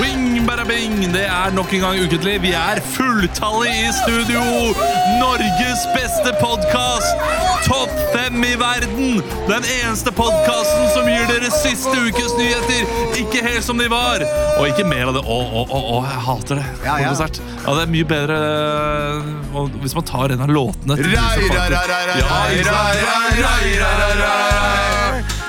Wing bada bing, det er nok en gang ukentlig. Vi er fulltallige i studio! Norges beste podkast! Topp fem i verden! Den eneste podkasten som gir dere siste ukes nyheter, ikke helt som de var. Og ikke mer av det. Å, å, å, å jeg hater det. Ja, ja. På konsert. Ja, det er mye bedre øh, og hvis man tar en av låtene. til disse Rai, rai, folkene. rai, rai, Ja, rai, ikke sant? rai, rai, rai, rai, rai, rai.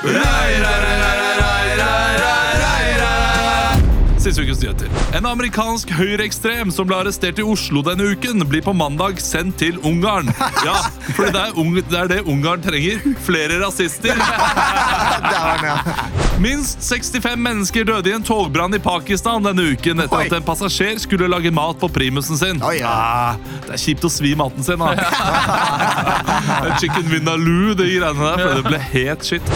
Rai, rai, rai, rai, rai, rai, rai, rai, rai. Siste ukens nyheter. En amerikansk høyreekstrem som ble arrestert i Oslo denne uken, blir på mandag sendt til Ungarn. Ja, for det er, ung, det, er det Ungarn trenger. Flere rasister. Der var den, ja. Minst 65 mennesker døde i en togbrann i Pakistan denne uken etter Oi. at en passasjer skulle lage mat på primusen sin. Oi, ja. ah, det er kjipt å svi maten sin, da. Chicken vindaloo, de greiene der, for det ble het shit.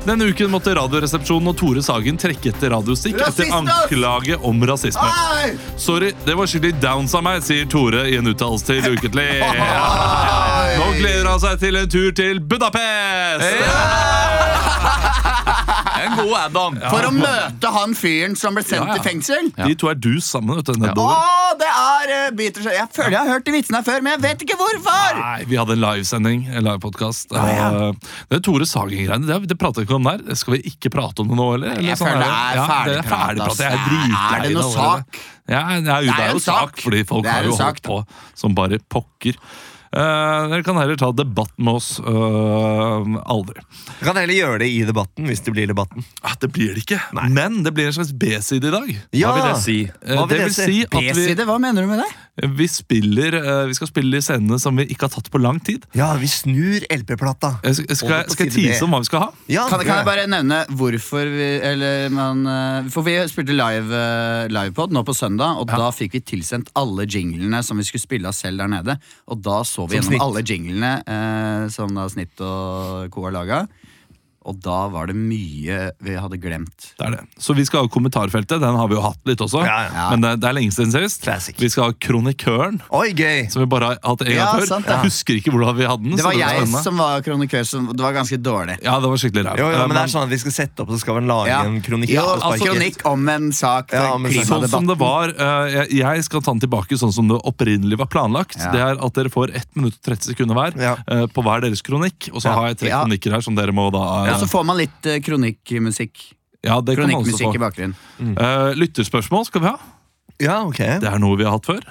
Denne uken måtte Radioresepsjonen og Tore Sagen trekke etter radiostikk etter Rasist, ass! anklage om rasisme. Oi! Sorry, det var skikkelig downs av meg, sier Tore i en uttalelse til Ukentlig. Nå gleder han seg til en tur til Budapest! En god add-on. For å møte han fyren som ble sendt Ja, ja. til fengsel. De to er dus sammen. vet du, den der Å, bordet. det er eh, biter seg Jeg føler jeg har hørt de vitsene her før, men jeg vet ikke hvorfor! Nei, Vi hadde en livesending. en livepodcast. ja. Eh, Det er Tore Sagen-greiene det, det prater vi ikke om der. Skal vi ikke prate om det nå, eller? eller Jeg føler det er sånn det er ferdigprat. ferdigprat, Jeg er ass. dritlei Er det noe allerede. sak? Ja, det er jo, det er jo en sak. sak, fordi folk Det er har jo en sak, holdt på som bare pokker. Eh, dere kan heller ta debatt med oss eh, aldri. Du kan heller gjøre det i debatten, hvis det blir debatten. Ah, det blir det ikke, men det blir en slags B-side i dag. Ja. Hva vil det si? Eh, Hva vil det det vil si? si at vi, B-side, hva mener du med det? vi, spiller, eh, vi skal spille de scenene som vi ikke har tatt på lang tid. Ja, vi snur LP-plata. Jeg Skal, skal, jeg- skal jeg side B. tease om hva vi skal ha? Ja, Kan, kan jeg gjør det. bare nevne hvorfor vi Eller man eh, For vi spilte live eh, livepod nå på søndag, og da fikk vi tilsendt alle jinglene som vi skulle spille av selv der nede. Og da så vi gjennom Som snitt. alle jinglene eh, som da Snitt og co. har laga. Og da var det mye vi hadde glemt. Det er det. Så vi skal ha kommentarfeltet. Den har vi jo hatt litt også. Ja, ja. Men det, det er lenge siden sist. Classic. Vi skal ha Kronikøren, Oi, gøy! som vi bare har hatt en gang Ja, før. sant det. Jeg husker ikke hvordan vi hadde den. så Det var blir jeg spennende. som var kronikør, som det var ganske dårlig. Ja, det var skikkelig ræv. Jo, jo, Eh, men det er sånn at vi skal sette opp, så skal man lage Ja. en kronikk. Jo, på altså, sparket. kronikk om en sak. Ja, om en sak. Sånn som klimadebatt. det var, eh, jeg- Jeg skal ta den tilbake sånn som det opprinnelig var planlagt. Ja. Det er At dere får 1 minutt og 30 sekunder hver Ja. eh, på hver deres kronikk. Og så Ja. har jeg tre Ja. kronikker her som dere må da Og så får man litt eh, kronikkmusikk. Ja, det kan man også Kronikkmusikk få. i bakgrunnen. Eh, lytterspørsmål skal vi ha. Ja, ok. Det er noe vi har hatt før.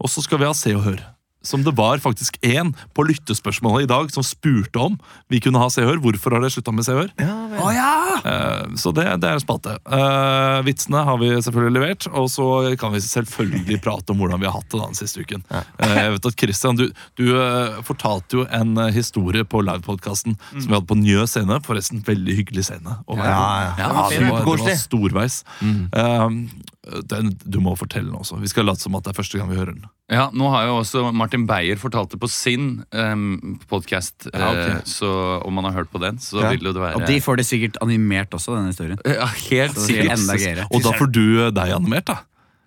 Og så skal vi ha Se og Hør. Som det var faktisk én på lyttespørsmålet i dag som spurte om vi kunne ha Se og Hør. Hvorfor har dere slutta med Se og Hør? Ja, vel. Eh, så det, det er en spalte. Eh, vitsene har vi selvfølgelig levert, og så kan vi selvfølgelig prate om hvordan vi har hatt det den siste uken. Eh, jeg vet at Christian, du, du eh, fortalte jo en eh, historie på livepodkasten som vi hadde på Njø scene. Forresten, veldig hyggelig scene. å være Ja, ja. på. Ja, det, var, det var superkoselig. storveis. Eh, den, du må fortelle den også. Vi skal late som at det er første gang vi hører den. Ja, nå har jo også Martin Beyer fortalt det på sin um, podkast. Ja, ok. Så om man har hørt på den, så Ja. vil jo det være Og de får det sikkert animert også, denne historien. ja, Helt Så det blir sikkert. enda gøyere. Og da får du eh, deg animert, da.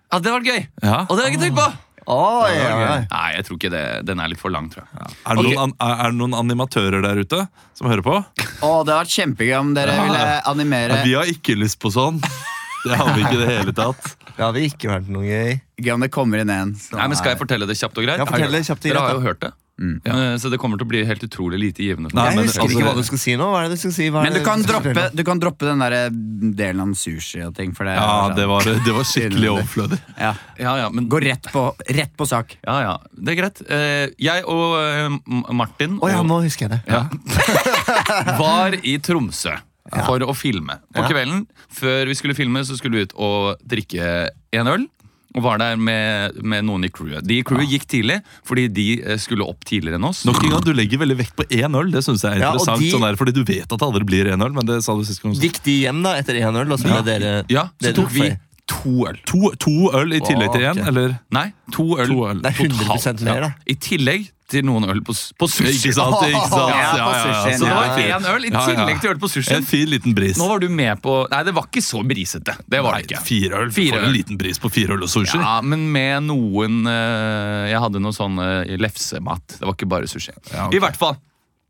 Ja, det hadde vært gøy! Ja. Og det har jeg ikke tenkt på! Oi, oi, oi. Nei, jeg tror ikke det. Den er litt for lang, tror jeg. Er det, noen, an- er er det noen animatører der ute som hører på? Å, det hadde vært kjempegøy om dere ville animere Eh. Nei, vi har ikke lyst på sånn. Det har vi ikke i det hele tatt. Det hadde ikke vært noe gøy. Gøy om det kommer inn en som Nei, men Skal er- jeg fortelle det kjapt og greit? Ja, fortell det kjapt og Dere greit, har jo da. Mm. hørt det. Eh, Så det kommer til å bli helt utrolig lite givende. for Nei, meg. Jeg men husker altså- ikke hva du skal si nå. Hva er det du skal si? Hva er Men du det kan, skal droppe, fortelle? du kan droppe den der eh, delen om sushi og ting, for det sånn. Ja, det var, det var skikkelig overflødig. Ja. Ja, ja, men Gå rett på, rett på sak. Ja, ja, det er greit. Eh, Jeg og eh, M- Martin Å ja, og- nå husker jeg det. ja. var i Tromsø for å filme. På Ja. kvelden før vi skulle filme, så skulle vi ut og drikke en øl. Og var der med, med noen i crewet. De i crewet gikk tidlig, fordi de eh, skulle opp tidligere enn oss. Nok en gang, Du legger veldig vekt på én øl, det synes jeg er Ja, og interessant. de- sånn der, fordi du vet at det aldri blir én øl, men det sa du sist gang. også. Gikk de hjem da etter 1-0, og så ble dere Ja, så dere tok vi feil. to øl. To, to øl i tillegg til én, Ok. eller? Nei, to øl, To øl. Det er 100% mer, da. Ja. I tillegg til noen øl på, s- på sushi. Ikke sant? ikke sant? Ja, på sushien, Så det Ja, var fint. én øl i Ja, ja. tillegg til øl på sushien. En fin liten bris. Nå var du med på Nei, det var ikke så brisete. Det var det Nei, ikke. Fire øl. Fire Fire øl. En liten bris på fire øl og sushi. Ja, men med noen eh, Jeg hadde noe sånn eh, lefsemat. Det var ikke bare sushi. Ja, ok. I hvert fall.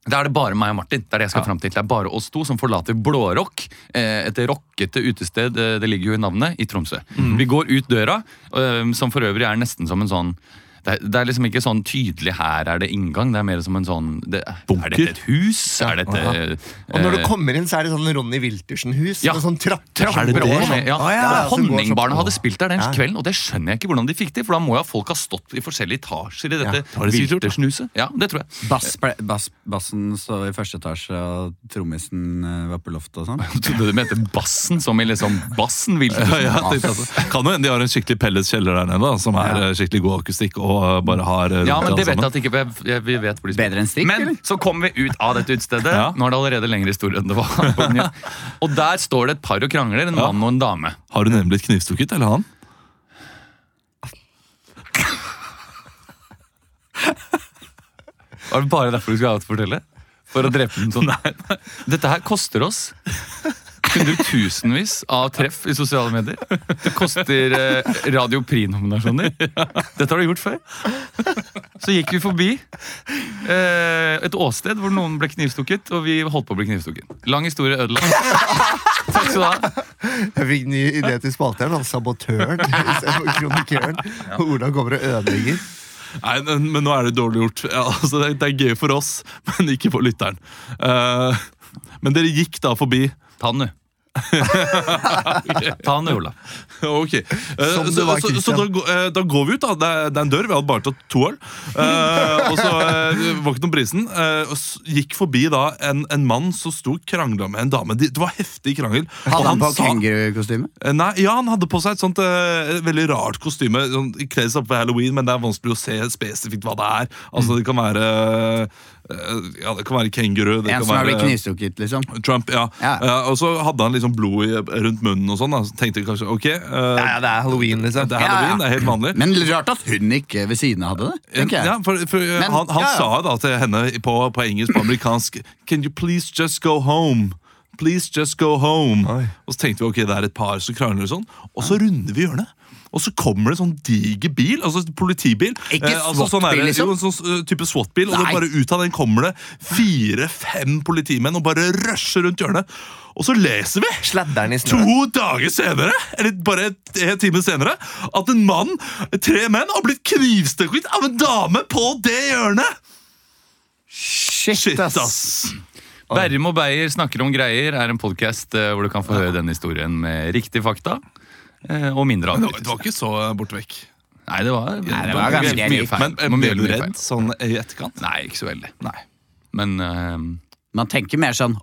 Da er det bare meg og Martin. Det er det jeg skal frem til. Det er bare oss to som forlater Blårock, eh, et rockete utested, eh, det ligger jo i navnet, i Tromsø. Vi går ut døra, eh, som for øvrig er nesten som en sånn det er, det er liksom ikke sånn tydelig her er det inngang. Det er mer som en sånn det, Er dette et hus? Er dette Og når du eh, kommer inn, så er det sånn Ronny Wiltersen-hus. Ja. Med sånn trapper Trapper som går over sånn. med- Ja. Å, ja, Ja, som går sånn. Honningbarna hadde spilt der den Ja. kvelden, og det skjønner jeg ikke hvordan de fikk til. For da må jo folk ha stått i forskjellige etasjer i dette har de sikkert gjort, da. Wiltersen-huset. Ja, det tror jeg. Bass, ble- bass, bassen står i første etasje, og trommisen eh, var på loftet og sånn. Jeg trodde du mente bassen, som i liksom bassen Wiltersen. Ja, jeg tenkte at det- Kan jo hende de har en skikkelig Pelles kjeller der nede, da, som er eh, skikkelig god akustikk og eh, bare har eh, Ja, rundt men alt det vet jeg sammen. at ikke jeg- jeg- Vi vet hvor de Bedre enn strikk, eller? Men så kom vi ut av dette utestedet. Ja. Nå er det allerede lengre historie enn det var. Og der står det et par og krangler, en mann og en dame. Har hun nemlig blitt knivstukket, eller han? Var det bare derfor du skulle ha det til å fortelle? For å drepe den sånn? Dette her koster oss hundretusenvis av treff i sosiale medier. Det koster eh, Radio Prix-nominasjoner. Dette har du gjort før. Så gikk vi forbi eh, et åsted hvor noen ble knivstukket, og vi holdt på å bli knivstukket. Lang historie ødelagt. Takk skal du ha. Jeg fikk ny idé til spalteren. Han sabotøren. istedenfor Kronikøren. Og Ola kommer og ødelegger. Nei, men, men nå er det dårlig gjort. Ja, altså, det, det er gøy for oss, men ikke for lytteren. Eh, men dere gikk da forbi. Ta den, du. Ta den, du, Ola. Ok, eh, Som det Så, var, så, så Christian. da, gå- eh, da går vi ut, da. Det er, det er en dør. Vi hadde bare tatt to øl. Eh, og så eh, var ikke noe prisen. Eh, og s- gikk forbi da en, en mann som sto og krangla med en dame. De, det var heftig krangel. Og Hadde han på sa- kengurukostyme? Eh, Nei, ja, han hadde på seg et sånt eh, et veldig rart kostyme. Sånn, Kledd seg opp for halloween, men det er vanskelig å se spesifikt hva det er. Mm. Altså, Det kan være eh, Ja, det kan være kenguru. Det En kan som har blitt være knivstukket, liksom. Trump, ja. Ja. Eh, og så hadde han liksom blod i, rundt munnen og sånn. Da. Så tenkte jeg kanskje ok, eh, det er halloween, liksom. det er halloween, det er helt vanlig. Men rart at hun ikke ved siden av hadde det. tenker Ja, jeg. for, for, eh, Men- han han ja, ja. sa da til henne på, på engelsk, på amerikansk Can you please just go home? Please just go home. Oi. Og så tenkte vi ok, det er et par som krangler og sånn. Og så runder vi hjørnet. Og så kommer det en sånn diger bil, altså en politibil. Ikke Eh, altså sånn SWAT-bil, der- liksom? Jo, en sånn eh, type SWAT-bil. Og det Nei. bare ut av den kommer det fire-fem politimenn og bare rusher rundt hjørnet. Og så leser vi! Sladderen i snøen. To dager senere, eller bare et- en time senere, at en mann, tre menn, har blitt knivstukket av en dame på det hjørnet! Shit, ass. Berrum og Beyer snakker om greier er en podkast hvor du kan få høre den historien med riktige fakta. eh, Og Det mindre var, det avbrytelser. var ikke så borte vekk. Nei, det var, det var ganske mye likt. feil. Men eh, Det var ble mye, du mye redd sånn i etterkant? feil. Nei, ikke så veldig. Nei. Men eh, Man tenker mer sånn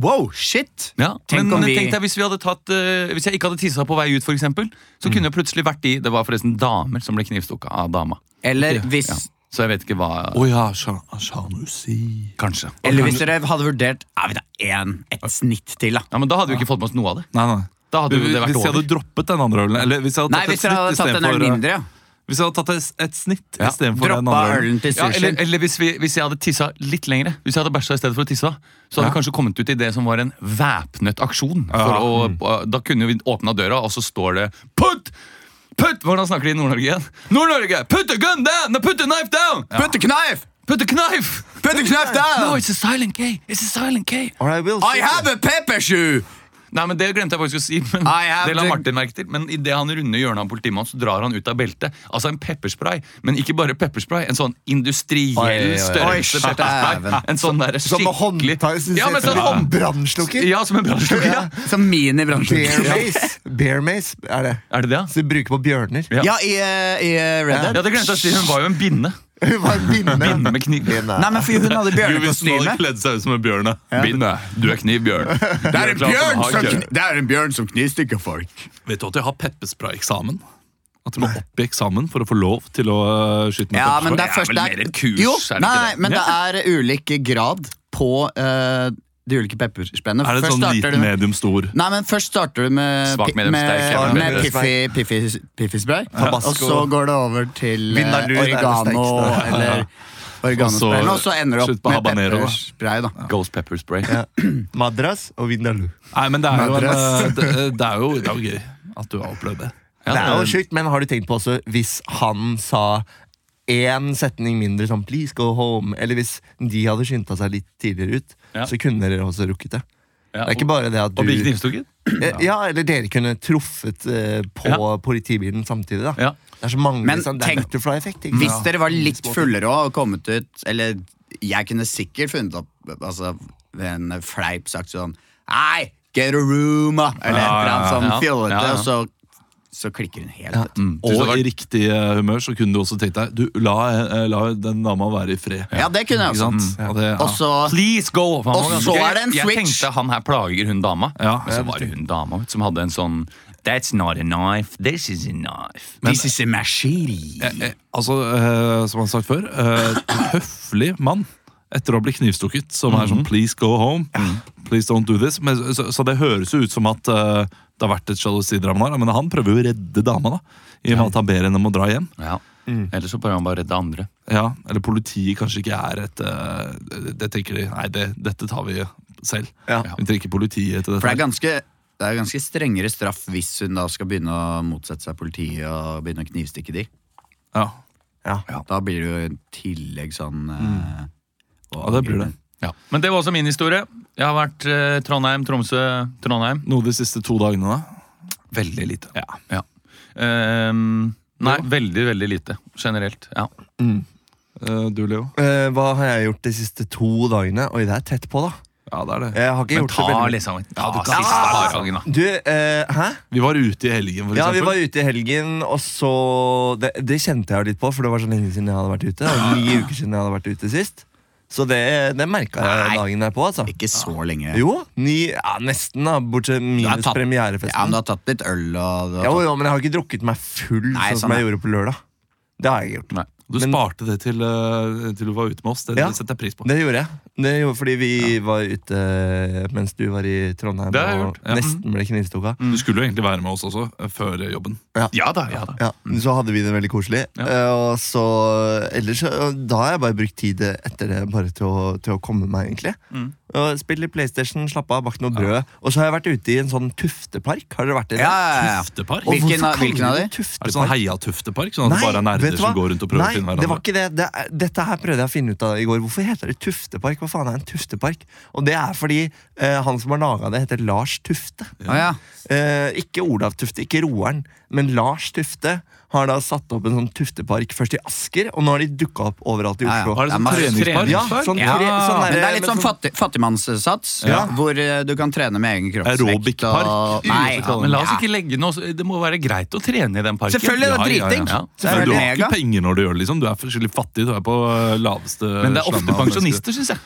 wow, shit! ja, Tenk men om vi- tenk deg hvis vi hadde tatt eh, Hvis jeg ikke hadde tissa på vei ut, for eksempel, så Mm. kunne jeg plutselig vært i Det var forresten damer som ble knivstukket av dama. Eller hvis, Ja. Så jeg vet ikke hva Å ja, sja- sjanusi Kanskje. eller hvis dere hadde vurdert Ja, vi tar én, et snitt til, da. Ja, Men da hadde vi ikke fått med oss noe av det. Nei, nei. Da hadde jo det vært hvis jeg hadde over. droppet den andre ølen eller Hvis jeg hadde Nei, tatt, hvis dere hadde et, snitt tatt en øl istedenfor, mindre, ja. eh, hvis jeg hadde tatt et, et snitt Ja. istedenfor den Droppa andre ølen. ølen til Ja, eller, sushien. eller hvis, vi, hvis jeg hadde tissa litt lengre, hvis jeg hadde bæsja i stedet for å tisse, så hadde vi kanskje kommet ut i det som var en væpnet aksjon. For Mm. å, da kunne vi åpna døra, og så står det Put! Put! Hvordan snakker de i Nord-Norge igjen? Nord-Norge! Put a gun down! No, put a knife down! Put a knife! Put a knife! Put a knife No, down! it's a silent K! It's a silent K! All right, Will. I have a pepper shoe! Nei, men Det glemte jeg faktisk å si. Men I have det la the- Martin merke til Men idet han runder hjørnet av politimannen, så drar han ut av beltet. Altså en pepperspray, men ikke bare pepperspray. En sånn industriell Oi, oi, oi. størrelse. Oi, pepperspray. dæven. En sånn der Som med skikkelig håndtak. Ja, men sånn hånd... Brannslukker. ja, som en brannslukker. Ja. Som minibransjen. Bear mace. Bear mace er det. Er det det? ja? Så de bruker på bjørner. Ja. Ja, i, eh, i eh, Red Ja, Dead. det glemte jeg å si. Hun var jo en binde. Hun var binde. Binde med kniv. Binde. Nei, men for hun hadde Hvis man bjørnekostyme. hadde kledd seg ut som en bjørn, da. Binde. Du er kniv, Bjørn. Det Det er en bjørn som kn- det er en bjørn som knivstikker folk. Vet du at jeg har pepperspray-eksamen? At de må opp i eksamen for å få lov til å øh, skyte med Ja, men det pepperspray? er først vel det mer et kurs, jo, er det nei, ikke det? men det er ulik grad på eh, de ulike peppersprayene. Er det Først sånn starter liten, du- medium, stor? Nei, men Først starter du med, Svak, pi- medium, sterk, jævla med, med medium. piffi, piffi, piffispray. Tabasco. Og så går det over til eh, Vindaloo, det er det oregano sterkeste. eller Og organospray. så- Og så ender du slutt opp på med habanero, da. pepperspray. da Ghost pepper spray. Madras og Vindaloo. Nei, men det er jo, en, Madras. øh, det, det er jo, det er jo gøy at du har opplevd det. Ja, det er jo det- sjukt, men har du tenkt på også hvis han sa én setning mindre sånn 'please go home', eller hvis de hadde skynda seg litt tidligere ut, Ja. så kunne dere også rukket det. Ja, Det er ikke bare det at du Og bli knivstukket? Eh, Ja, eller dere kunne truffet eh, på Ja. politibilen samtidig, da. Ja. Det er så mange Men sånn, det er tenk- butterfly-effekt. ikke Hvis sant? dere var litt fullere og kommet ut Eller jeg kunne sikkert funnet opp altså, ved en fleip sagt sånn Nei, get a room, da! Eller et Ja, eller annet ja, mm. sånn ja. fjollete, Ja, ja. og så, så klikker hun helt. vet du. Hvis du Og var i riktig eh, humør, så kunne du også tenkt deg Du, la, eh, la den dama være i fred. Ja, det kunne jeg Ikke sant? også. Og det, ja. Og så Please go! Han var Og ganske så gøy. er det en Jeg switch. tenkte han her plager hun dama. Ja. Og så var det hun dama vet du, som hadde en sånn That's not a knife, this is a knife. This is a machine. Eh, eh, altså, eh, som han har sagt før, eh, en høflig mann etter å bli knivstukket, som er Mhm. sånn 'please go home', 'please don't do this'. Men, så, så det høres jo ut som at eh, det har vært et sjalusidrama der, men han prøver jo å redde dama, da. I og med at han ber henne om å dra hjem. Ja. Ellers så prøver han bare å redde andre. Ja, Eller politiet kanskje ikke er et eh, det- Det tenker de Nei, det, dette tar vi selv. Ja. Vi trenger ikke politiet til dette. For det er ganske det er ganske strengere straff hvis hun da skal begynne å motsette seg politiet og begynne å knivstikke de. ja. Ja. Da blir det jo i tillegg sånn eh, og ja, det blir det. Ja. Men det var også min historie. Jeg har vært eh, Trondheim, Tromsø, Trondheim. Noe de siste to dagene, da? Veldig lite. Ja. ja. Ehm, nei, veldig, veldig lite. Generelt. Ja. Eh, Du, Leo? Eh, hva har jeg gjort de siste to dagene? Oi, det er tett på, da. Ja, det er det. Jeg har ikke Men gjort ta det veldig liksom ta du kan- siste hverdagen, liksom- da. Du, eh, hæ? Vi var ute i helgen, for eksempel. Ja, vi var ute i helgen, og så Det, det kjente jeg jo litt på, for det var så lenge siden jeg hadde vært ute. Det var ni uker siden jeg hadde vært ute sist. Så det, det merka jeg Nei. dagen derpå, altså. Ikke så lenge. Jo, ni, ja, nesten, da. Bortsett har minus tatt- Ja, men premierefesten. du har tatt litt øl og du har jo, tatt, jo, men jeg har ikke drukket meg full Nei, sånn sånn som jeg er- gjorde på lørdag. Det har jeg ikke gjort. Nei. Du Men- sparte det til, eh, til du var ute med oss. Det, Ja. det setter jeg pris på. Det gjorde jeg. Det gjorde fordi vi var ute eh, mens du var i Trondheim Det har jeg og gjort, ja. nesten ble knivstukka. Du skulle jo egentlig være med oss også, eh, før jobben. Ja da, ja da. Mm. Ja, Mm. Så hadde vi det veldig koselig. Ja. Eh, Og så, ellers, så- da har jeg bare brukt tid etter det bare til å, til å komme meg, egentlig. Mm. Og Spilt litt PlayStation, slappe av, bakt noe brød. Og så har jeg vært ute i en sånn tuftepark. Har dere vært i det? ja, ja, ja. Tuftepark? Og Er Hvilken hvorfor av- kaller hvilken de av de? det det Tuftepark? sånn heiatuftepark? Sånn at det bare er vet nerder du som hva? går rundt og prøver Nei, å finne det hverandre? var ikke det. det er, dette her prøvde jeg å finne ut av i går. Hvorfor heter det tuftepark? Hva faen er en tuftepark? Og det er fordi eh, han som har laga det, heter Lars Tufte. Å, ja. Eh, ikke Olav Tufte, ikke Roeren, men Lars Tufte har da satt opp en sånn tuftepark først i Asker, og nå har de dukka opp overalt i Ja, ja. Oslo. Har det sånn Det er masse treningspark? Ja, sånn tre, sånn Men det derre- er litt med sånn fattig, fattigmannssats, Ja. hvor eh, du kan trene med egen kroppsvekt. Aerobic-park. og- Nei, Ja, Ja, men la oss ikke legge noe så- Det må være greit å trene i den parken. Selvfølgelig, det er dritdigg. Ja. Det er Men du veldig har ikke mega. penger når du gjør det. liksom Du er forskjellig fattig. Du er på eh, laveste Men det er slammet ofte av mennesker. pensjonister, syns jeg.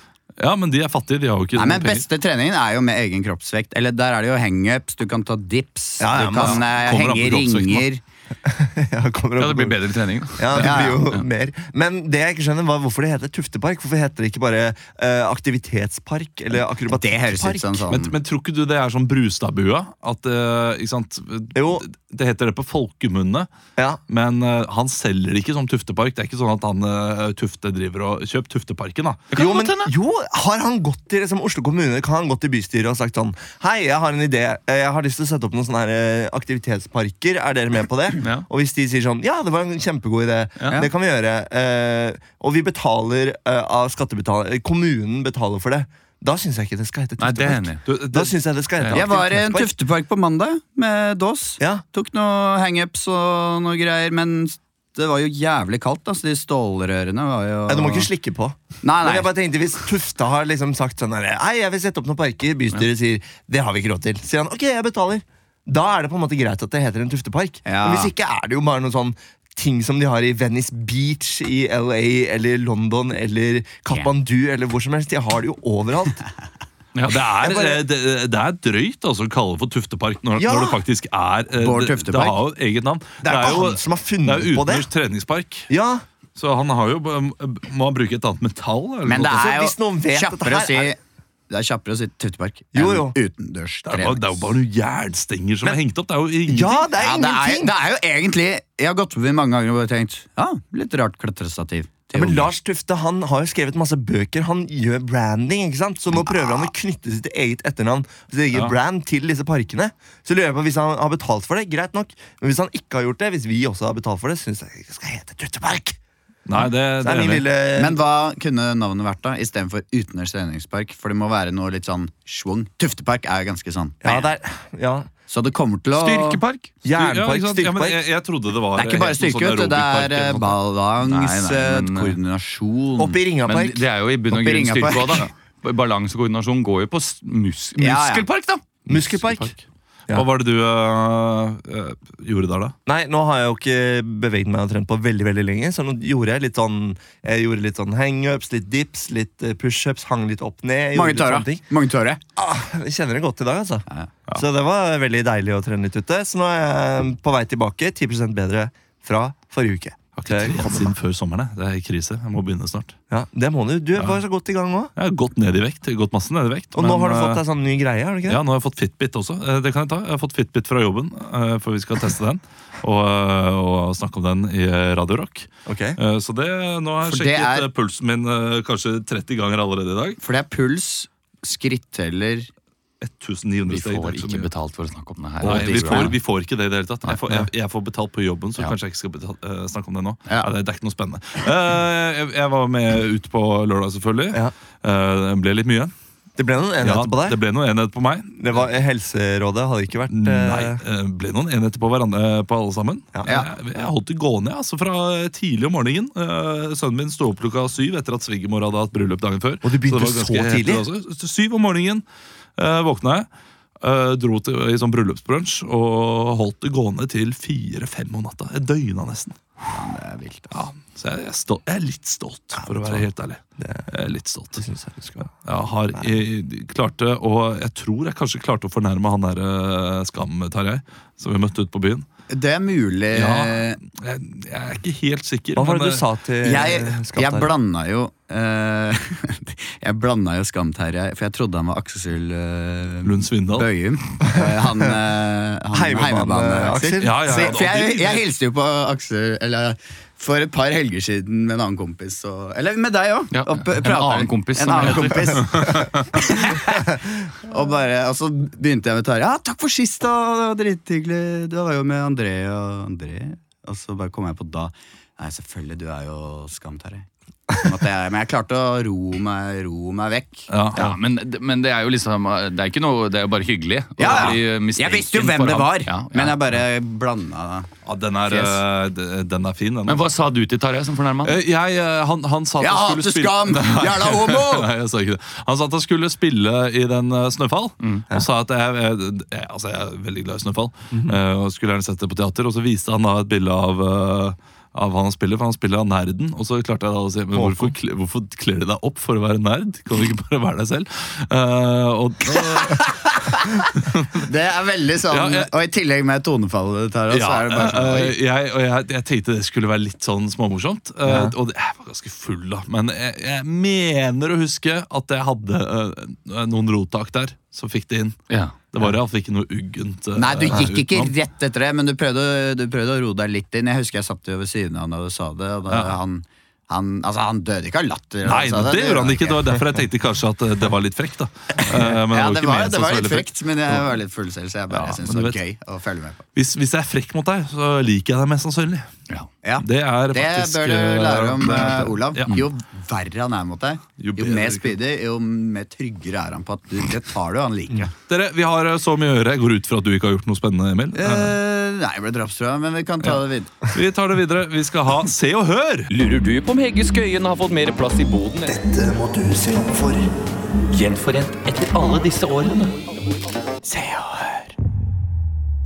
Ja, men de er fattige. De har jo ikke Nei, noen men Beste treningen er jo med egen kroppsvekt. Eller Der er det jo hangups, du kan ta dips, Ja, ja, du men kan kommer eh, henge an på kroppsvekten, da. ringer. ja, kommer Ja, opp- det blir bedre trening. da. Ja, det Ja, ja. blir jo mer. Men det jeg ikke skjønner, var hvorfor det heter tuftepark. Hvorfor heter det ikke bare eh, aktivitetspark eller akrobatikkpark? Det høres ut som sånn Men, men tror ikke du det er sånn Brustadbua? At eh, ikke sant Jo. Det, det heter det på folkemunne, Ja. men eh, han selger det ikke som Tuftepark. Det er ikke sånn at han eh, Tufte driver og kjøper Tufteparken, da. kan Jo, godt men, hende. jo, har han gått til liksom, Oslo kommune Kan han gått til bystyret og sagt sånn Hei, jeg har en idé Eh, Jeg har lyst til å sette opp noen sånne her eh, aktivitetsparker Er dere med på det? Ja. Og hvis de sier sånn Ja, det var en kjempegod idé Det kan vi gjøre Eh, Og vi betaler eh, av skattebetaler eh, Kommunen betaler for det Da synes jeg ikke det skal hete Nei, det er tuftepark jeg enig i. Du, Da det, synes jeg det skal hete Jeg var i en aktivitetspark. tuftepark på mandag med Dås. Ja, Tok noe hangups og noe greier, men det var jo jævlig kaldt. Altså, de stålrørene var jo Nei, du må ikke slikke på Nei, Men nei. jeg bare tenkte Hvis Tufte har liksom sagt sånn her, Hei, jeg vil sette opp noen parker Bystyret sier Det har vi ikke råd til Sier han Ok, jeg betaler Da er det på en måte greit at det heter en Tuftepark Ja. Men hvis ikke er det jo bare noen sånn Ting som de har i Venice Beach I LA Eller London Eller Kathmandu Eller hvor som helst De har det jo overalt Ja, det, er, Jeg bare- eh, det, det er drøyt altså, å kalle det for Tuftepark når, Ja! når det faktisk er eh, det, Bård det Tuftepark. har jo eget navn. Det er ikke han som har det funnet er jo på det. utenriks treningspark, Ja, så han har jo, b- må han bruke et annet metall. eller noe Men det sånt. altså, er jo hvis noen vet dette kjappere å her, si er- Det er kjappere å si Tuftepark Jo, jo. enn utendørs det, er bare, det er jo bare noen jernstenger som er hengt opp. Det er jo ingenting. ja det er Ja, det, er, ingenting! det er jo egentlig Jeg har gått forbi mange ganger og bare tenkt Ja, litt rart klatrestativ. til Ja, men unger. Lars Tufte han har jo skrevet masse bøker. Han gjør branding. ikke sant? Så nå prøver han å knytte sitt eget etternavn sitt eget Ja. brand til disse parkene. Så lurer jeg på Hvis han har betalt for det, greit nok. Men hvis han ikke har gjort det, hvis vi også har betalt for det, syns jeg det skal hete Tuftepark. Nei, det, Det det er er min enig. lille Men hva kunne navnet vært, da? Istedenfor utendørs treningspark? For det må være noe litt sånn schwung. Tuftepark er ganske sånn. Ja, det er, ja. Så det kommer til å Styrkepark? Styr- ikke Jernpark, sant? men styrkepark. jeg, jeg trodde det var Det er ikke bare helt noe styrke, vet du. sånn Det aerobikpark er eh, eller noe sånt. balanse, Nei, nei, men, eh, koordinasjon Oppe i Men Ringapark. det er jo i bunn og Oppe i grunn styrke Ringapark. også, da. Balanse og koordinasjon går jo på s- mus Ja, ja. muskelpark, da! Muskelpark. Ja. Hva var det du eh, eh, gjorde der, da? Nei, nå har jeg jo ikke beveget meg og trent på veldig veldig lenge. Så nå gjorde jeg litt sånn Jeg gjorde litt sånn hangups, litt dips, litt eh, pushups. Hang litt opp ned. gjorde Mange litt tårer. sånne ting. Mange tårer. Ah, jeg kjenner det godt i dag, altså. Ja, Så det var veldig deilig å trene litt ute. Så nå er jeg på vei tilbake. 10 bedre fra forrige uke. Jeg har ikke trent siden før sommeren. jeg. Det er krise. Jeg må begynne snart. Ja, det må du. Du var så godt i gang òg. Jeg har gått ned i vekt. Gått masse ned i vekt. Og nå men, har du fått eh, deg sånn ny greie. har du ikke det? Ja, nå har jeg fått Fitbit også. Eh, Det kan jeg ta. Jeg har fått Fitbit fra jobben, eh, for vi skal teste den. Og, eh, og snakke om den i eh, Radio Rock. Ok. Eh, Så det, nå har jeg For det sjekket er- eh, pulsen min eh, kanskje 30 ganger allerede i dag. For det er puls, skritteller 1900 Vi steg. får det er så ikke mye. betalt for å snakke om det her. Nei, Det er vi bra. får, vi får ikke det i det hele tatt. Jeg får, jeg, jeg får betalt på jobben, så Ja. kanskje jeg ikke skal betale, eh, snakke om det nå. Ja. Nei, det, det er ikke noe spennende. Eh, jeg, jeg var med ut på lørdag, selvfølgelig. Ja. Eh, det ble litt mye. Det ble noen enheter på Ja, det deg. ble noe enhet på meg. Det var, helserådet hadde ikke vært Nei, eh, eh, ble noen enheter på hverandre på alle sammen. Ja. Ja. Jeg, jeg holdt det gående altså, fra tidlig om morgenen. Eh, sønnen min sto opp klokka syv etter at svigermor hadde hatt bryllup dagen før. Og du begynte det var så ganske heftig tidlig? også. Så Syv om morgenen eh, våkna jeg. eh, dro til, i sånn bryllupsbrunsj og holdt det gående til fire-fem om natta. Jeg døgna nesten. Det er vilt. Ja, så jeg, jeg, er stol- jeg er litt stolt, for å være helt ærlig. Jeg er litt stolt. Det synes jeg du skal være. Jeg har jeg klarte å Jeg tror jeg kanskje klarte å fornærme han der eh, Skam, Tarjei, som vi møtte ute på byen. Det er mulig Eh. Ja. Jeg, jeg er ikke helt sikker. Hva var det men, eh, du sa til Jeg, Skatt jeg der? blanda jo eh, Jeg blanda jo Skam Terje, for jeg trodde han var Aksel eh, eh, Lund Svindal. Bøyum. Eh, han eh, han Heimebane, heimebane-Aksel. Aksel. Ja, ja, ja. Så- For jeg, jeg hilste jo på Aksel eller, for et par helger siden med en annen kompis. Og, eller med deg òg. Ja, en annen kompis, En som annen det kompis. og, bare, og så begynte jeg med Tarjei. Ja, 'Takk for sist, da. det var Drithyggelig.' Du var jo med André og André. Og så bare kom jeg på da. Nei, selvfølgelig, du er jo skam, Tarjei. Sånn at jeg- Men jeg klarte å ro meg, ro meg vekk. Ja. Ja, men, men det er jo liksom eh, Det er ikke noe, det er jo bare hyggelig. å Ja, bli eh, eh, ja. Jeg mistenkt visste jo hvem for det han. var, Ja, ja. men jeg bare blanda det. Ja, den, er, eh, d- den er fin, den. altså. Men hva sa du til Tarjei som fornærma? Eh, Jeg, eh, han, han sa at Jeg han hater skulle spille Skam! Jævla homo! Nei, jeg sa ikke det. Han sa at han skulle spille i den eh, Snøfall. Mm, Og sa at jeg, jeg, jeg, altså jeg er veldig glad i Snøfall. Mhm. eh, og Skulle gjerne sett det på teater. Og så viste han da et bilde av eh, av hva han spiller, for han spiller av nerden. Og så klarte jeg da å si Men hvorfor, kle- hvorfor kler du deg opp for å være nerd? Kan du ikke bare være deg selv? Eh, og Det er veldig sånn, Ja, jeg- og i tillegg med tonefallet Tara, så er det bare sånn eh, oi. eh, jeg, og jeg, jeg tenkte det skulle være litt sånn småmorsomt. eh, Og det, jeg var ganske full, da. Men jeg, jeg mener å huske at jeg hadde eh, noen rottak der som fikk det inn. Ja. Det var iallfall ikke noe uggent. eh, Nei, du gikk ikke utenom. rett etter det, men du prøvde, du prøvde å roe deg litt inn. Jeg husker jeg satt jo ved siden av han da du sa det, og da, Ja. han, han, altså, han døde ikke av latter. Nei, sa det, gjorde han ikke. Det var derfor jeg tenkte kanskje at eh, det var litt frekt, da. Eh, Men Ja, jo det ikke var, ment det som var så litt veldig frekt, men jeg var litt full selv, så jeg bare Ja, syntes men det du var gøy å følge med på. Hvis, hvis jeg er frekk mot deg, så liker jeg deg mest sannsynlig. Ja. Ja, Det er det faktisk bør du eh, lære om, det er- eh, Olav. Ja. Jo verre han er mot deg, Jo jo bedre mer ikke. spydig, jo mer tryggere er han på at du, det tar du, han liker det. Dere, vi har eh, så mye å gjøre. Jeg går ut fra at du ikke har gjort noe spennende, Emil. Eh, Eh, nei, jeg ble drapstrua, men vi kan ta det videre. Vi tar det videre. Vi skal ha Se og Hør! Lurer du på om Hege Skøyen har fått mer plass i boden? Dette må du se opp for. Gjenforent etter alle disse årene.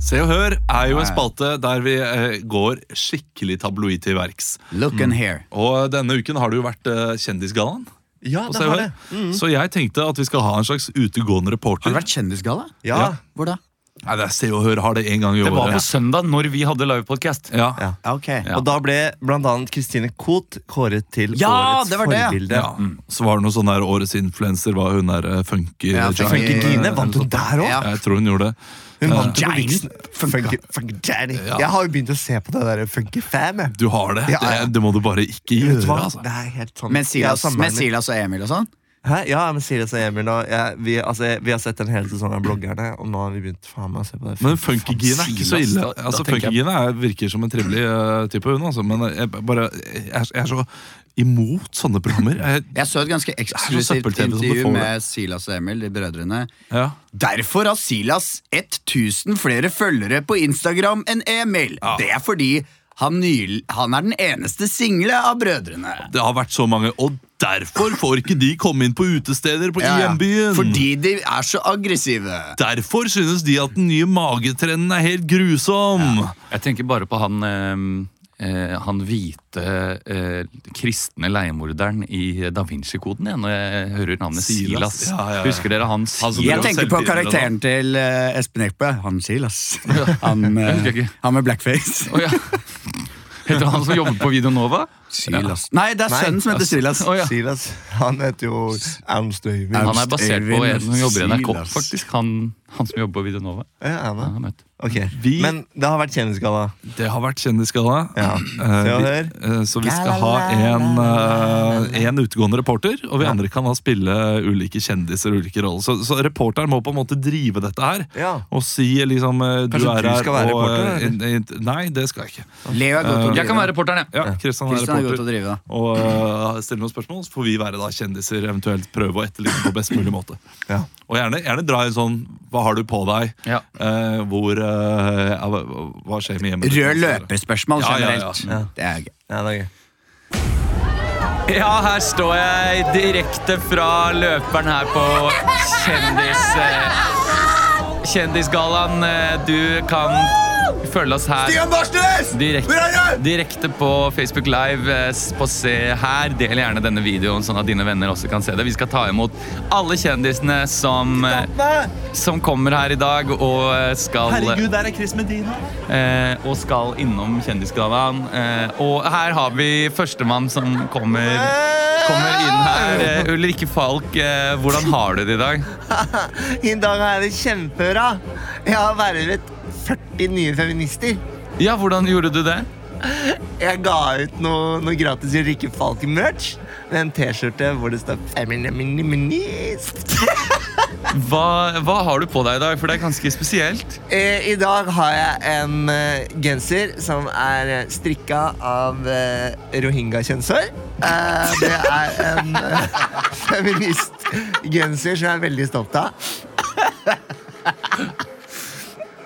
Se og Hør er jo en spalte der vi eh, går skikkelig tabloid til verks. Look and hear. Og denne uken har det jo vært eh, Kjendisgallaen. Ja, på det Se og har Hør. det. Mhm. Så jeg tenkte at vi skal ha en slags utegående reporter. Har det vært kjendisgalla? Ja. Ja. Hvor da? Nei, det er Se og Hør har det en gang i Det var på året. søndag, når vi hadde livepodkast. Ja. Ja. Ja, ok. Ja. Og da ble bl.a. Kristine Koht kåret til Ja, årets det var det, ja. forbilde. Ja. Mm. Så var det noe sånn der Årets influenser var hun der eh, Funky Ja, Giant. Funky Gine, vant hun der òg? Ja. Jeg tror hun gjorde det. Hun vant jo på Giant. Vixen. Funky, funky Giant. Ja. Jeg har jo begynt å se på det der Funky Fam. jeg. Du har det. Ja, ja. Det, det må du bare ikke gjøre. Vet du hva? Altså. Det er helt sånn Med Silas, med Jeg og samboeren min- Silas og Emil og sånn? Hæ? Ja, men Silas og Emil og jeg, vi, altså, vi har sett en hel sesong av bloggerne, og nå har vi begynt faen meg å se på det. Men funkygine er ikke så Silas, ille. da- da Altså, tenker jeg- Funkygine er- virker som en trivelig eh, type, hun, altså. Men jeg, bare, jeg, er, jeg er så imot sånne programmer. Jeg, Jeg så et ganske eksklusivt søppel-TV som du intervju får det. med Silas og Emil, de brødrene. ja. Derfor har Silas 1000 flere følgere på Instagram enn Emil. Det er fordi han, nyl- han er den eneste single av brødrene. Det har vært så mange, og derfor får ikke de komme inn på utesteder på Ja, ja. IM-byen. Fordi de er så aggressive. Derfor synes de at den nye magetrenden er helt grusom. Jeg tenker bare på han eh, eh, han hvite eh, kristne leiemorderen i Da Vinci-koden igjen, når jeg hører navnet Silas. Silas. Ja, ja, ja. Husker dere hans Han som Jeg dro tenker selvbilder på og karakteren sånn. til eh, Espen Eckbø. Han Silas. Han, eh, husker ikke. han med blackface. Å, ja. Heter han som jobber på Videonova? Silas. Nei, det er Nei. sønnen som heter Silas. Å, ja. Silas, han heter jo Ernst Øyvind. Han er basert på en som jobber i NRK, Silas. faktisk. Han, han som jobber på Videonova. Ja, han Han er. har møtt. Ok, Vi- Men det har vært kjendisgalla. Det har vært kjendisgalla. Ja. Eh, Se og vi- hør. eh, så vi skal ha en, eh, en utegående reporter, og vi andre kan da spille ulike kjendiser og ulike roller. Så, så reporteren må på en måte drive dette her. Ja. Og si liksom eh, du Kanskje er du her skal være og, reporter, eh, in- in- Nei, det skal jeg ikke. Leo er god til å Eh, Jeg kan drive. være reporteren, jeg. Ja, Kristian er Christian er god til å reporter. drive. da. Og eh, stille noen spørsmål, så får vi være da kjendiser, eventuelt prøve å etterligne på best mulig måte. Ja. Og gjerne, gjerne dra en sånn 'hva har du på deg', Ja. eh, hvor eh, ja, hva- Hva skjer med hjemmet? Rød løperspørsmål Ja, ja, ja. generelt. Ja. Det er gøy. Ja, det er gøy. Ja, her står jeg direkte fra løperen her på kjendis... eh, Kjendisgallaen. Eh, Du kan følge oss her Barsnes! direkte, direkte på Facebook Live. eh, s- På Se her. Del gjerne denne videoen, sånn at dine venner også kan se det. Vi skal ta imot alle kjendisene som, eh, som kommer her i dag og eh, skal Herregud, der er Chris Medina! eh, og skal innom Kjendisgallaen. Eh, og her har vi førstemann som kommer, kommer inn her. Eh, Ulrikke Falk, eh, hvordan har du det i dag? I dag er det kjempebra. Jeg har vervet 40 nye feminister. Ja, hvordan gjorde du det? Jeg ga ut noe, noe gratis Ulrikke Falk-merch med en T-skjorte hvor det står feminist. Hva, hva har du på deg i dag? For det er ganske spesielt. Eh, I dag har jeg en eh, genser som er eh, strikka av eh, rohingya-kjønnshår. Eh, det er en eh, feministgenser som jeg er veldig stolt av.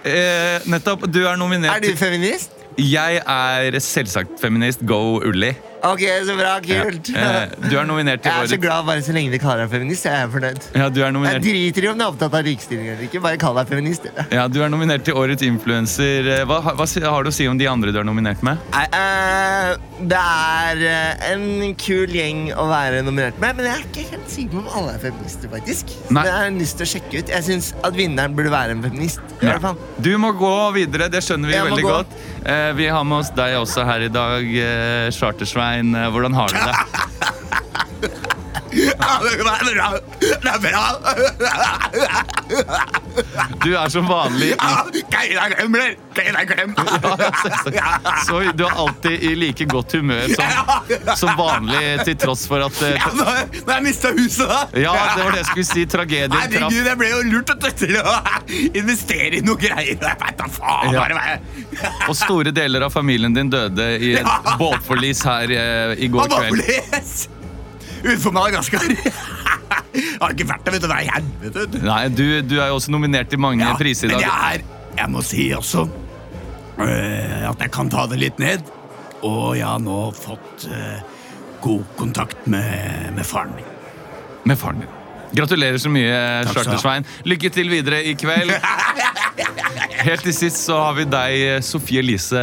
Eh, nettopp, du er nominert. Er du feminist? Jeg er selvsagt feminist. Go Ulli. Ok, så bra. Kult. Eh, du er nominert til Jeg er så årets glad bare så lenge de kaller deg feminist. Jeg er fornøyd. ja, du er Jeg nominert. driter i om du er opptatt av likestilling eller ikke. Bare kall deg feminist. dere. Ja, du er nominert til årets influenser. Eh, Hva, hva si- har du å si om de andre du er nominert med? Eh, det er eh, en kul gjeng å være nominert med, men jeg er ikke helt sikker på om alle er feminister. faktisk Så Nei. Det har jeg lyst til å sjekke ut Jeg syns at vinneren burde være en feminist. I hvert fall Du må gå videre, det skjønner vi Jeg må veldig gå. godt. Eh, vi har med oss deg også her i dag, eh, Chartersvein. Eh, Hvordan har du det? Det er bra! Du er som vanlig i- Geira glemmer! Geira glemmer! så Du er alltid i like godt humør som, som vanlig, til tross for at eh, Nå har jeg mista huset, da! Ja, det var det jeg skulle si. Tragedien traff. Herregud, jeg ble jo lurt vet du, til å investere i noe greier. Jeg vet da faen Ja. bare hva jeg Og store deler av familien din døde i et båtforlis her eh, i går Han var kveld. les! Utenfor Madagaskar. Har ikke vært der, vet du. Det er helvete. vet du. Nei, du, du er jo også nominert til mange Ja, priser i Men dag. jeg er Jeg må si også øh, at jeg kan ta det litt ned. Og jeg har nå fått øh, god kontakt med, med faren min. Med faren din. Gratulerer så mye, skal du ha. Chartersvein. Lykke til videre i kveld. Helt til sist så har vi deg, Sofie Elise.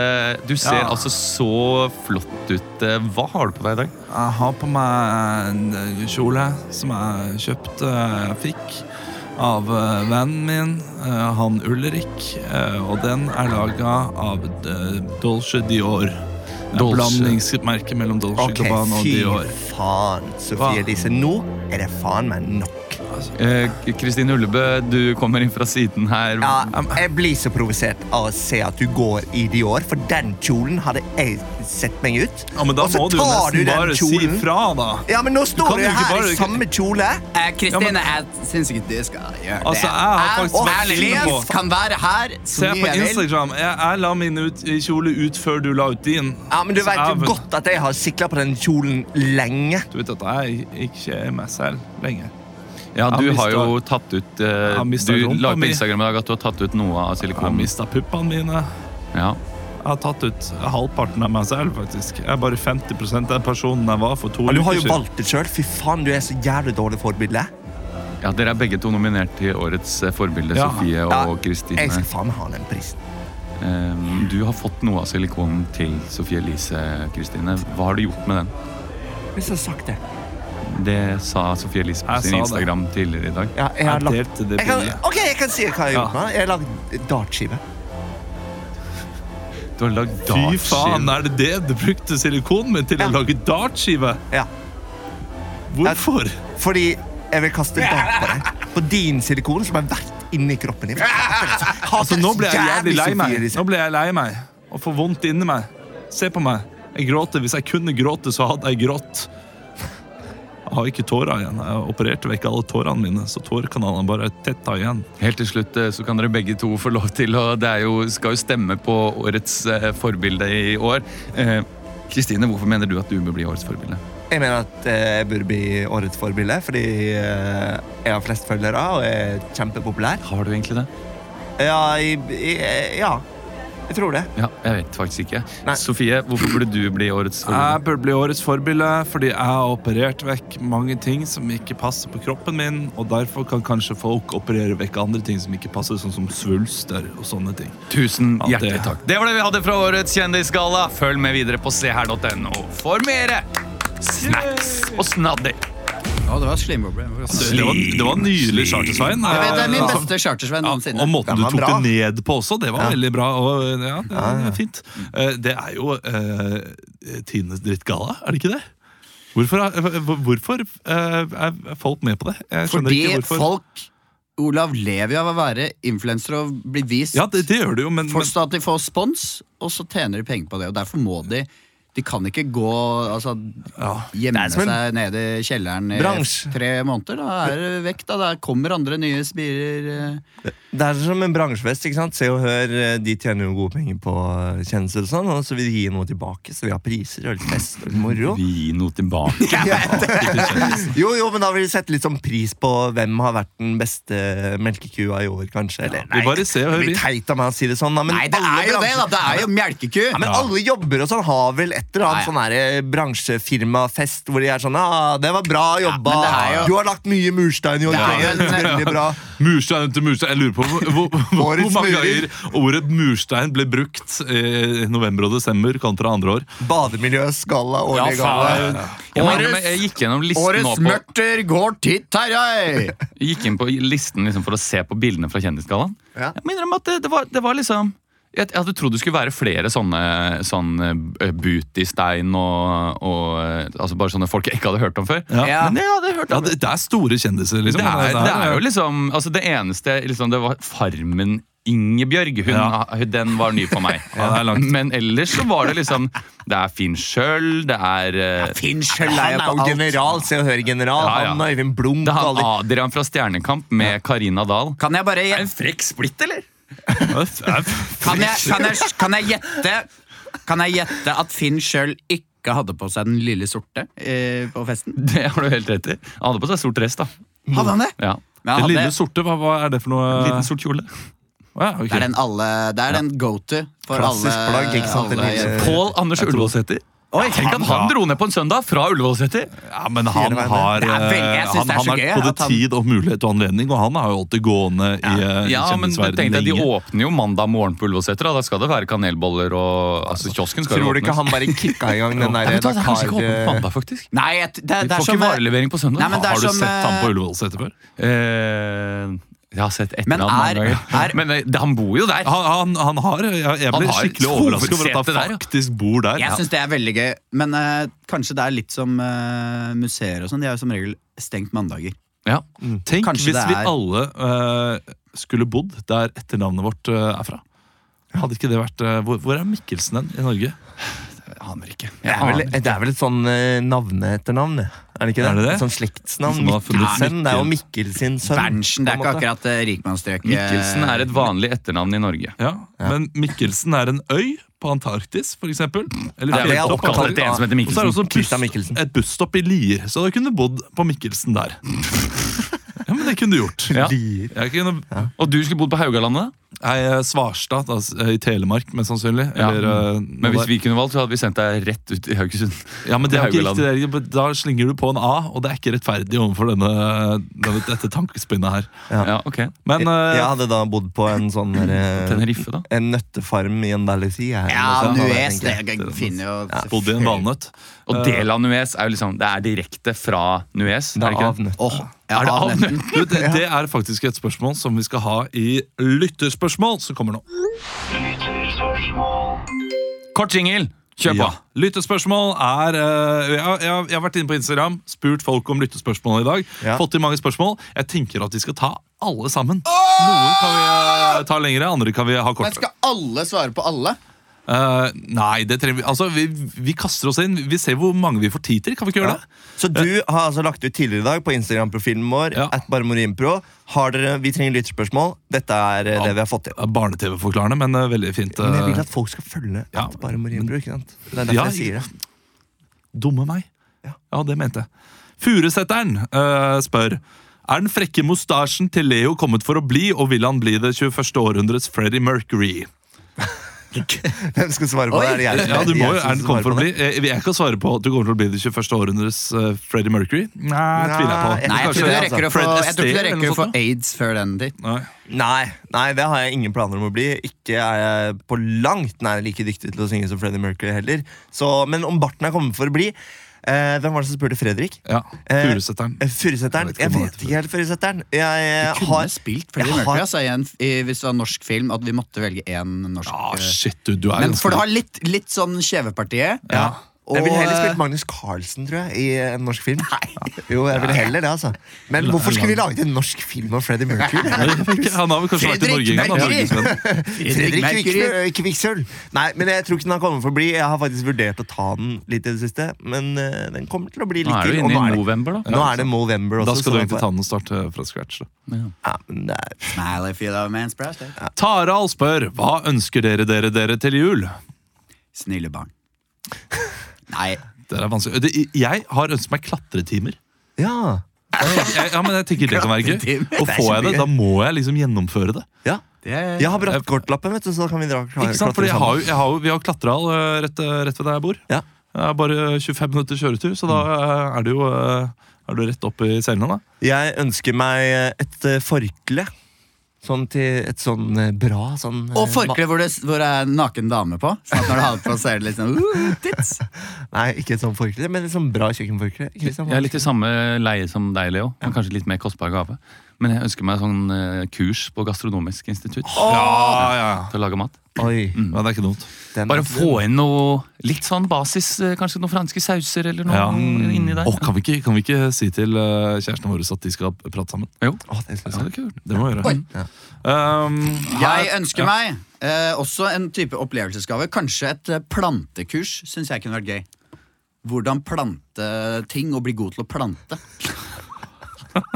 Du ser Ja. altså så flott ut. Hva har du på deg i dag? Jeg har på meg en kjole som jeg kjøpte, eh, fikk av eh, vennen min, eh, han Ulrik. eh, Og den er laga av eh, Dolce Dior. En Dolce. blandingsmerke mellom Dolce Ok, Gabbana og fy Dior. faen, Sofie Hva? Elise. Nå er det faen meg nok. Eh, Kristin Ullebø, du kommer inn fra siden her. Ja, Mm. jeg blir så provosert av å se at du går i Dior, for den kjolen hadde jeg sett meg ut. Ja, men da Og så må du tar nesten den bare si kjolen. fra, da. Ja, men nå kan står du jo ikke her bare- i samme kjole. Eh, Kristine, jeg syns ikke du skal gjøre Altså, jeg har faktisk vært inne på kan være her Se på Instagram. Jeg, jeg la min ut, kjole ut før du la ut din. Ja, men Du Så vet jeg jo godt at jeg har sikla på den kjolen lenge. Du vet at jeg ikke er meg selv lenger. Ja, du Jeg har jo mistet- tatt ut eh, Jeg mistet Du rumpa la på mi. Instagram i dag at du har tatt ut noe av Jeg har silikonen. mista puppene mine. Ja. Jeg har tatt ut halvparten av meg selv, faktisk. Jeg er bare 50 av den personen jeg var for to Og du har uker jo valgt det sjøl. Fy faen, du er så jævlig dårlig forbilde. ja, Dere er begge to nominert til årets eh, forbilde, Ja. Sofie og Kristine. eh. Jeg skal faen meg ha den prisen. Eh, du har fått noe av silikonen til Sofie Elise, Kristine. Hva har du gjort med den? Hvis jeg har sagt det. Det sa Sofie Elise på Jeg sin sa det. Instagram tidligere i dag. Ja, jeg har Jeg lagt delte det jeg kan, bildet. Ok, jeg kan si hva jeg har gjort. Ja. med den. Jeg har lagd dartskive. Du har lagd Fy faen, dartskive. er det det du brukte silikonen min til Ja. å lage dartskive? Ja. Hvorfor? Fordi jeg vil kaste dart på deg. På din silikon, som er verdt inni kroppen din. Altså, nå ble jeg jævlig lei meg. Sofie Elise. Nå ble jeg lei meg og får vondt inni meg. Se på meg. Jeg gråter. Hvis jeg kunne gråte, så hadde jeg grått. Jeg har ikke tårer igjen. Jeg opererte vekk alle tårene mine, så tårekanalene bare er tetta igjen. Helt til slutt eh, så kan dere begge to få lov til å Det er jo, skal jo stemme på årets eh, forbilde i år. Eh, Kristine, hvorfor mener du at du bør bli årets forbilde? Jeg mener at eh, jeg burde bli årets forbilde, fordi eh, jeg har flest følgere og jeg er kjempepopulær. Har du egentlig det? Ja, jeg, jeg, ja, jeg tror det. Ja, Jeg vet faktisk ikke. Nei. Sofie, hvorfor burde du bli årets Jeg forbilde? burde bli årets forbilde fordi jeg har operert vekk mange ting som ikke passer på kroppen min, og derfor kan kanskje folk operere vekk andre ting som ikke passer, sånn som svulster og sånne ting. Tusen Ja, det- hjertelig takk. Det var det vi hadde fra årets Kjendisgalla. Følg med videre på seher.no for mere snacks og snadder. det var slimboble. Altså, Det var, det var nydelig, Chartersveien. Jeg vet, det er min Ja. beste chartersvenn noensinne. Og måten Den du var tok bra. det ned på også, det var veldig bra. Og, ja, det, det er fint. Eh, Det er jo eh, tidenes drittgalla, er det ikke det? Hvorfor, er- hvorfor eh, er folk med på det? Jeg skjønner Fordi ikke hvorfor. folk Olav lever jo av å være influenser og bli vist. Ja, det, det gjør det jo, men, men Forstå at de får spons, og så tjener de penger på det. Og derfor må de De kan ikke gå altså, Ja. gjemme som en seg nede i kjelleren i bransje. tre måneder. Da er det vekk, da. Der kommer andre nye spirer. eh. Det er som en bransjefest. ikke sant? Se og Hør eh, de tjener jo gode penger på eh, kjennelser, og sånn, og så vil de gi noe tilbake. Så vi har priser og litt fest og litt moro. Vi gir noe tilbake. Jo, jo, men da vil de sette litt sånn pris på hvem har vært den beste melkekua i år, kanskje. Eller, vi bare ser og hører, det blir vi. teit av meg å si det sånn, da, men Nei, det alle er jo det, da! bransjer- Det er jo melkeku! Ja, men alle jobber og sånn har vel et eller annet Ja, ja. sånn her bransjefirmafest hvor de er sånn ah, 'Det var bra jobba. men det er jo- Du har lagt mye murstein, Jon. Det er jo Klaus. en- Veldig bra. Murstein til murstein. Jeg lurer på hvor, hvor, hvor Årets mange murer. ganger ordet murstein ble brukt eh, i november og desember kontra andre år. Bademiljøskalla, årlig galla. Jeg, mener, men jeg gikk gjennom listen nå Årets på mørter går til Terjei! Jeg gikk inn på listen liksom, for å se på bildene fra Kjendisgallaen. Ja. Jeg minner om at det, det, var, det var liksom jeg, jeg hadde trodd det skulle være flere sånne, sånne eh, Bootystein og, og eh, altså Bare sånne folk jeg ikke hadde hørt om før. Ja. Men jeg hadde hørt Ja, om det, det er store kjendiser, liksom. det er, det er jo liksom altså Det eneste liksom, Det var Farmen Ingebjørg. Hun, hun- Den var ny for meg. Ja, det er langt. Men ellers så var det liksom Det er Finn Schjøll, det er eh, Finn sjøl Han er er jo jo på alt. general. Se og hør general. Ja, ja. Han og Øyvind Blunk. Det er og han alle- Adrian fra Stjernekamp med Karina Dahl. Kan jeg bare En frekk splitt, eller? Kan jeg, kan jeg, kan jeg gjette Kan jeg gjette at Finn sjøl ikke hadde på seg den lille sorte eh, på festen? Det har du helt rett i. Han hadde på seg sort dress, da. Hadde han det? Ja. Men Den han lille hadde, sorte, hva, hva er det for noe? Liten sort kjole. Å ja, ok. det er den alle Det er den go to for Klassisk alle, plagg, ikke sant, den alle lille- jenter. Pål eh, Anders Ullevålsæter. Tenk at han dro ned på en søndag fra Ullevålseter! Ja, men han har, Det er veldig- jeg eh, synes han, det er han så har gøy både at han- tid og mulighet og anledning, og han har jo holdt det gående i, eh, i Ja, men du kjendisverdenen tenkte at De lenge. åpner jo mandag morgen på Ullevålseter. Da. da skal det være kanelboller og altså, Kiosken skal Tror du jo ikke åpnes. han bare kicka i gang den Nei, der vet du hva, det er kanskje ikke åpent på Dakar eh, mandag, faktisk. Nei, jeg- det, det, Vi er får ikke som eh, varelevering på søndag. Nei, men det er har du som, sett Han han på på Ullevål? Ullevålseter før? Eh, jeg har sett etter Men ham er- mange ganger. er- men eh, det- han bor jo der! Han, han, han har Jeg Han ble har et skikkelig overrasket over at hovedsete der, han ja. faktisk bor der. Jeg syns det er veldig gøy, men eh, kanskje det er litt som eh, museer og sånn. De er jo som regel stengt mandager. Ja. Tenk Kanskje hvis det vi er- alle eh, skulle bodd der etternavnet vårt eh, er fra. Hadde ikke det vært eh, hvor, hvor er Mikkelsen hen i Norge? Aner ikke. det er, vel, det er vel et sånn eh, navneetternavn, det. Er det ikke det? Er det det? Et sånn slektsnavn. Som har funnet Mikkelsen. Det er jo Mikkel. Mikkel sin sønn. Berntsen, det er på ikke en måte. akkurat eh, rikmannsstrøk. eh, Mikkelsen er et vanlig etternavn i Norge. Ja, Men Mikkelsen er en øy på Antarktis, for eksempel. Eller Det er er oppkalt jo oppkalt oppkalt etter en som Og så av- heter er det Mikkelsen. også en Christian buss- Mikkelsen. et busstopp i Lier, så du kunne bodd på Mikkelsen der. Ja, men det kunne du gjort. Ja. Lier. Jeg kunne, Og du skulle bodd på Haugalandet? jeg er Svarstad, altså, i Telemark, mest sannsynlig. Ja. Eller, eh, Men noe hvis der. vi kunne valgt, så hadde vi sendt deg rett ut i Haugesund. Ja, men det er jo ikke Haugaland. riktig. det er ikke- Da slinger du på en A, og det er ikke rettferdig overfor denne, denne, dette tankespinnet her. Ja, ok. Men eh, Jeg hadde da bodd på en sånn derre Tenerife, da. En nøttefarm i Andalusia. eller noe Ja, sånt, da, Nuez, tenker det jeg. jeg finner jo bodde i en valnøtt. Og del av Nuez er jo liksom Det er direkte fra Nuez. Det er er det av ikke det? nøtt. Åh, ja, Er det av avnøtten. nøtten? Du, det, det er faktisk et spørsmål som vi skal ha i lytterspørsmål, som kommer nå. Kort jingle! Kjør på. Ja. Lyttespørsmål er eh, jeg, jeg, jeg har vært inne på Instagram, spurt folk om lyttespørsmål i dag. Ja. Fått inn mange spørsmål. Jeg tenker at vi skal ta alle sammen. Noen kan vi eh, ta lengre, andre kan vi ha Men kortere. skal alle svare på alle? Eh, nei, det trenger vi Altså, vi, vi kaster oss inn. Vi ser hvor mange vi får tid til. Kan vi ikke gjøre det? Så du har altså lagt ut tidligere i dag på Instagram-profilen vår Ja. at barmorimpro. Har dere, vi trenger lytterspørsmål. Dette er eh, det vi har fått til. Eh, Barne-TV-forklarende, men eh, veldig fint. Men jeg vil eh, at folk skal følge Ja. at barmorimpro. ikke sant? Det er derfor Ja, jeg sier det. Dumme meg. Ja, det mente jeg. Furusetteren eh, spør Er den frekke mustasjen til Leo kommet for å bli, og vil han bli det 21. århundrets Freddie Mercury? Hvem skal svare på det? Er det? jeg? Ja, du må jo, Jeg som er den skal kommet for å svare på bli? det? Jeg, jeg kan svare på at du kommer til å bli det 21. århundrets eh, Freddie Mercury. Nei, tviler jeg på. Nei, Nei, jeg tror Kanskje ikke det, du rekker å altså. få, Fred jeg tror ikke du Astaire rekker å eller få noe sånt aids før den tid. Nei. Nei, nei, det har jeg ingen planer om å bli. Ikke er jeg på langt nær like dyktig til å synge som Freddie Mercury heller. Så, men om barten er kommet for å bli eh, Hvem var det som spurte Fredrik? Ja, Eh, Furusetteren. eh, Furusetteren? Jeg Jeg vet ikke om han vet ikke helt Furusetteren. Jeg, eh, Kunne har spilt jeg Freddie har- Mercury altså, i en, i, hvis det var en norsk film, at vi måtte velge én norsk. Ah, eh, shit, du, du er men ganske- for du har litt, litt sånn kjevepartiet. Og, jeg ville heller spilt eh, Magnus Carlsen, tror jeg, i en norsk film. Ja. Jo, jeg ville heller det, altså. Men hvorfor skulle vi lage en norsk film om Freddie Mercury? Han har vel kanskje vært i Norge en eh, Fredrik gang? da, Mercury! Norgesvenn. Fredrik Mercury. Kviksøl- Kvikksølv! Nei, men jeg tror ikke den har kommet for å bli. Jeg har faktisk vurdert å ta den litt i det siste, men eh, den kommer til å bli Nå litt er du til. og inne nå er i det- november, da. Nå er det Movember også. Da skal så du da egentlig får- ta den og starte eh, fra scratch. da ja, men det er- Smile if you love man's breast, eh. Taral spør hva ønsker dere dere dere til jul. Snille barn. Nei. Det er vanskelig. Det, jeg har ønsket meg klatretimer. Ja. Jeg, jeg, ja, men jeg tenker det kan være gøy. Klatretimer? Og Det er får jeg kjempegøy. det, da må jeg liksom gjennomføre det. ja. Det, Jeg har brattkortlappen, vet du, så da kan vi dra Ikke sant? Fordi jeg har jo, jeg har jo, vi har klatreral eh, rett, eh, rett ved der jeg bor. Ja. Det er bare 25 minutter kjøretur, så da eh, er det jo eh, er du rett opp i selene. da. Jeg ønsker meg et eh, forkle. Sånn til et sånn eh, bra sånn eh, og forkle hvor det, hvor det er en naken dame på. Sånn at når du har det på, så er det litt sånn uh, tits. ma- Nei, ikke et sånn forkle, men et sånn bra kjøkkenforkle. Christian, Jeg er litt i samme leie som deg, Leo. Men kanskje litt mer kostbar gave. Men jeg ønsker meg sånn eh, kurs på Gastronomisk institutt Ja, ja, ja. til å lage mat. Oi, Ja, det er ikke dumt. den- Bare få inn noe litt sånn basis. eh, Kanskje noen franske sauser eller noe Ja. inni der. Og kan vi, ikke, kan vi ikke si til eh, kjærestene våre at de skal prate sammen? Jo. Å, det synes Ja, jeg. det er kult. Det må vi gjøre. Ja. Um, her- Jeg ønsker meg eh, også en type opplevelsesgave. Kanskje et eh, plantekurs syns jeg kunne vært gøy. Hvordan plante ting og bli god til å plante.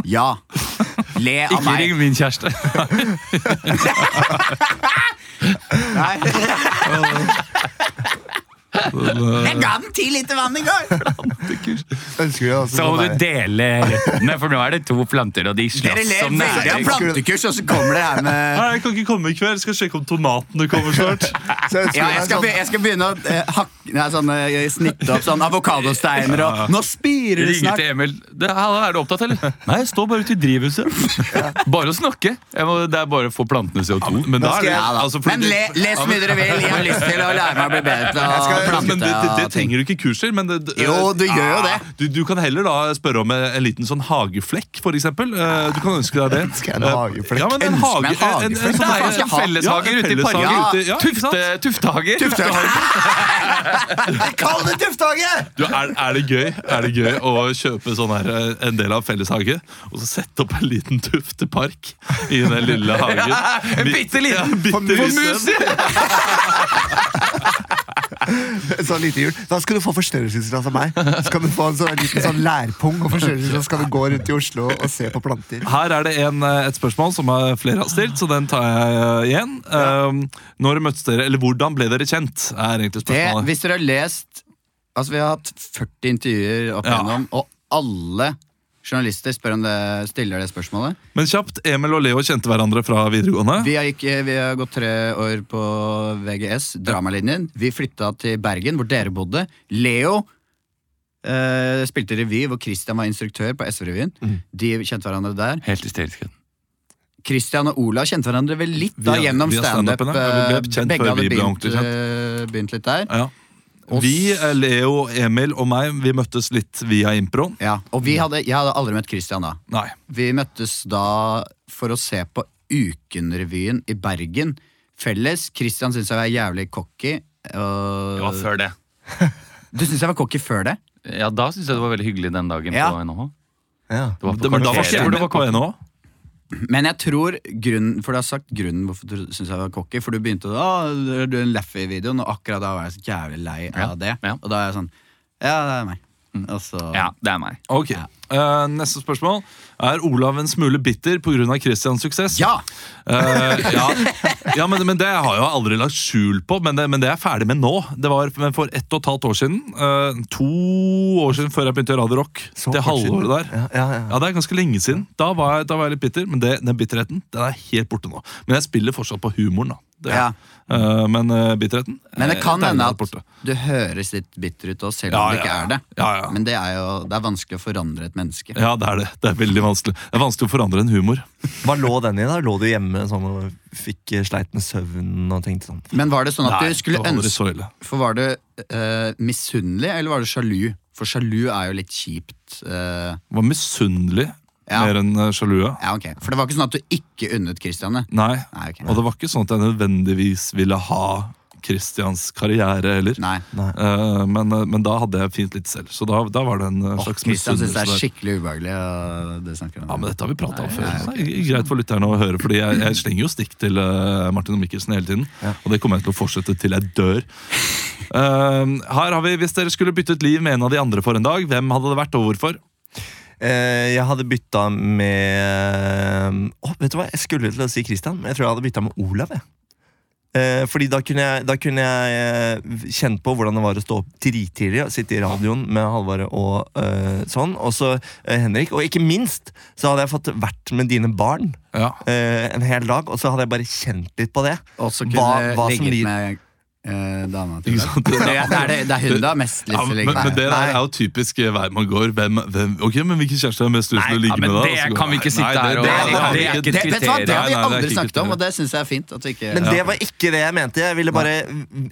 Ja. Le av Ikke meg. ring min kjæreste. Nei. Men, eh, ga den ti liter vann i går! Ønsker du også Så må sånn du der- dele røttene, for nå er det to planter, og de Dere slåss ler som veldig av næring. plantekurs, og så kommer det her med Nei, jeg kan ikke komme i kveld. Jeg skal sjekke om tomatene kommer snart. så ønsker ja, du jeg, deg skal, be- sånn- jeg skal begynne å eh, hakke, nei, sånn, eh, snitte opp sånn avokadosteiner og Nå spirer det Ringe snart! til Emil. Det, hallo, er du opptatt, eller? Nei, jeg står bare ute i drivhuset. Bare å snakke. Jeg må, det er bare å få plantene CO2. Men da er det skal jeg- Ja, da. altså, fordi- Men le, les mye dere vil. Jeg har lyst til å lære meg å bli bedre til å skal- Ja, men det, plante. det, det og ting. trenger du ikke kurs til. Men det, det- Jo, du gjør jo det. Ah, Du, du kan heller da spørre om en, en liten sånn hageflekk, for eksempel. Eh, Du kan ønske deg det. Ønsker jeg en Eh, hageflekk? Ja, men en Ønsker hage, meg en, en, en hageflekk? en, Det er jo sånn en felleshager Ja, en ute i parken. felleshager ute i- ja, ikke sant? Tufte, tuftehager. Kall det tufthage! Du, er, er, det gøy, er det gøy å kjøpe sånn her, eh, en del av felleshage og så sette opp en liten tuftepark i den lille hagen? En bitte liten. bitte For liten. mus, Sånn lite hjul. Da skal du få forstørrelsesglass av meg. Så kan du få en sånn liten sånn lærpung og forstørrelsesglass, så kan du gå rundt i Oslo og se på planter. her er det en, eh, et spørsmål som eh, flere har stilt, så den tar jeg eh, igjen. Um, når møttes dere, eller hvordan ble dere kjent, er egentlig Det, spørsmålet. hvis dere har lest Altså, vi har hatt 40 intervjuer opp Ja. igjennom, og alle journalister spør om det, stiller det spørsmålet. Men kjapt, Emil og Leo kjente hverandre fra videregående. Vi har, gikk, vi har gått tre år på VGS, dramalinjen. Vi flytta til Bergen, hvor dere bodde. Leo eh, spilte revy, hvor Christian var instruktør på SV-revyen. Mm. De kjente hverandre der. Helt hysterisk. Christian og Ola kjente hverandre vel litt da, Via- gjennom via standup. standupen, ja. Vi ble eh, kjent Begge før hadde vi ble begynt, ordentlig eh, begynt litt der. Ja. Og Vi, s- eh, Leo, Emil og meg, vi møttes litt via improen. Ja, og vi hadde, jeg hadde aldri møtt Christian da. Nei. Vi møttes da for å se på Ukenrevyen i Bergen felles. Christian syntes jeg var jævlig cocky. og- Det var før det. Du syntes jeg var cocky før det? Ja, da syns jeg det var veldig hyggelig den dagen Ja. på NHH. Ja. Det var på Det, men da var kvarteret, ikke hvor Emil det var på NHO. Men jeg tror grunnen, for du har sagt grunnen hvorfor du syns jeg var cocky. For du begynte å «Å, du er en laffy i videoen, og akkurat da var jeg så jævlig lei Ja, av det. ja. Mm. Og da er jeg sånn Ja, det er meg. Og så Ja, det er meg. Ok, Eh, Neste spørsmål. Er Olav en smule bitter pga. Christians suksess? Ja! Eh, ja, ja men, men det har jeg aldri lagt skjul på, men det, men det er jeg ferdig med nå. Det var for ett og et halvt år siden. eh, to år siden før jeg begynte i Radio Rock. Så det kort siden. halvåret der. Ja, ja, ja. Ja, Det er ganske lenge siden. Da var jeg, da var jeg litt bitter, men det, den bitterheten den er helt borte nå. Men jeg spiller fortsatt på humoren, da. Det, Ja. Eh, men eh, bitterheten Men det eh, kan den er hende helt at borte. du høres litt bitter ut også, selv Ja, om du ja, ikke ja. er det. Ja, ja. Men det er jo det er vanskelig å forandre et menneske. Ja, det er det. Det er veldig vanskelig Det er vanskelig å forandre en humor. Hva lå den i? da? Lå du hjemme sånn og fikk sleit med søvnen og tenkte sånn Men var det sånn at du skulle det var aldri sånn. så ønske ille. For var du eh, misunnelig, eller var du sjalu? For sjalu er jo litt kjipt. eh, Jeg var misunnelig Ja. mer enn eh, sjalu. ja. ja, ok. For det var ikke sånn at du ikke unnet Christian det. Nei. Nei, ok. Og det var ikke sånn at jeg nødvendigvis ville ha Christians karriere heller. Nei. Eh, men, eh, men da hadde jeg fint litt selv, så da, da var det en eh, Åh, slags Christian syns det er der. skikkelig ubehagelig. Og det snakker han om. Ja, men Dette har vi prata om før. så Det er greit for lytterne å høre. Fordi jeg, jeg slenger jo stikk til eh, Martin og Mikkelsen hele tiden. Og det kommer jeg til å fortsette til jeg dør. Eh, her har vi, Hvis dere skulle byttet liv med en av de andre for en dag, hvem hadde det vært, og hvorfor? Eh, Jeg hadde bytta med Å, Vet du hva, jeg skulle til å si Christian, men jeg tror jeg hadde bytta med Olav. jeg. Eh, Fordi da kunne jeg, da kunne jeg eh, kjent på hvordan det var å stå opp drittidlig, sitte i radioen med Halvard og eh, sånn. Og så eh, Henrik. Og ikke minst så hadde jeg fått vært med dine barn Ja. eh, en hel dag, og så hadde jeg bare kjent litt på det. Og så kunne Hva- hva som ligget lir- med eh, dama til Ikke deg. sant? Det er det, er- det er hun det har mest lyst Ja, til å men, ligge men det med. der er jo typisk eh, hver man går. Hvem, hvem, ok, men Hvilken kjæreste er mest lyst til å ja, ligge men med? da? det Og så går- kan vi ikke Nei, sitte her og- det- det- det- Nei, er ikke det, et vet du hva, det kriterium. Nei, har vi nei, det er aldri ikke snakket om, kriterium. og det syns jeg er fint. At vi ikke, Men det var ikke det jeg mente. Jeg ville bare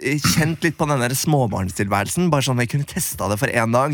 eh, kjent litt på den der småbarnstilværelsen. Bare sånn Jeg kunne testa det for én dag,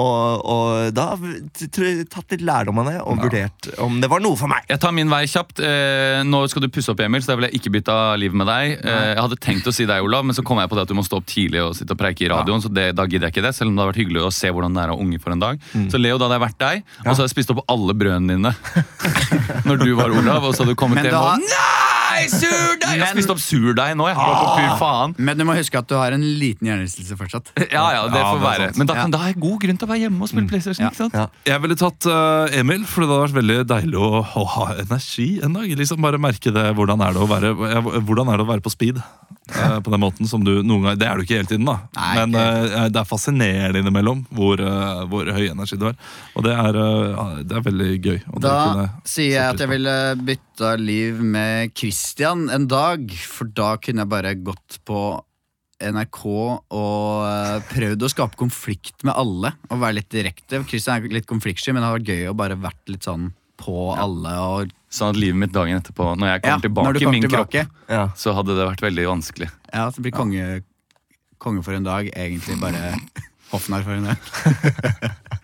og, og da t- tr- tatt litt lærdom av det og vurdert om det var noe for meg. Jeg tar min vei kjapt. Eh, nå skal du pusse opp, Emil, så da vil jeg ikke bytte av liv med deg. Eh, jeg hadde tenkt å si deg, Olav, men så kom jeg på det at du må stå opp tidlig og sitte og preike i radioen, så det, da gidder jeg ikke det. Selv om det har vært hyggelig å se hvordan det er å ha unge for en dag. Så Leo, da hadde jeg vært deg, og så hadde jeg spist opp alle brødene dine når du var Olav, og så hadde du kommet Men hjem da- og Nei, surdeig! Jeg har spist opp surdeig nå, jeg. Bare på pur faen. Men du må huske at du har en liten hjernerystelse fortsatt. Ja, ja, det Ja, får det er være. sant. Men da, Ja. kan, da har jeg god grunn til å være hjemme og spille PlayStation. ikke sant? Ja. Jeg ville tatt eh, Emil, for det hadde vært veldig deilig å, å ha energi en dag. Liksom Bare merke det. Hvordan er det å være, hvordan er det å være på speed? eh, på den måten som du noen ganger Det er du ikke hele tiden, da. Nei, Men eh, det er fascinerende innimellom hvor, eh, hvor høy energi du har. Og det er, eh, det er veldig gøy. og det Da kunne- sier jeg at jeg ville bytta liv med Christian en dag, for da kunne jeg bare gått på NRK og eh, prøvd å skape konflikt med alle og være litt direkte. Christian er litt konfliktsky, men det hadde vært gøy å bare vært litt sånn på alle og Sånn at livet mitt dagen etterpå, når jeg Ja, kommer tilbake i min kropp, Ja. så hadde det vært veldig vanskelig. Ja, så blir konge, konge for en dag egentlig bare hoffnarr for en dag.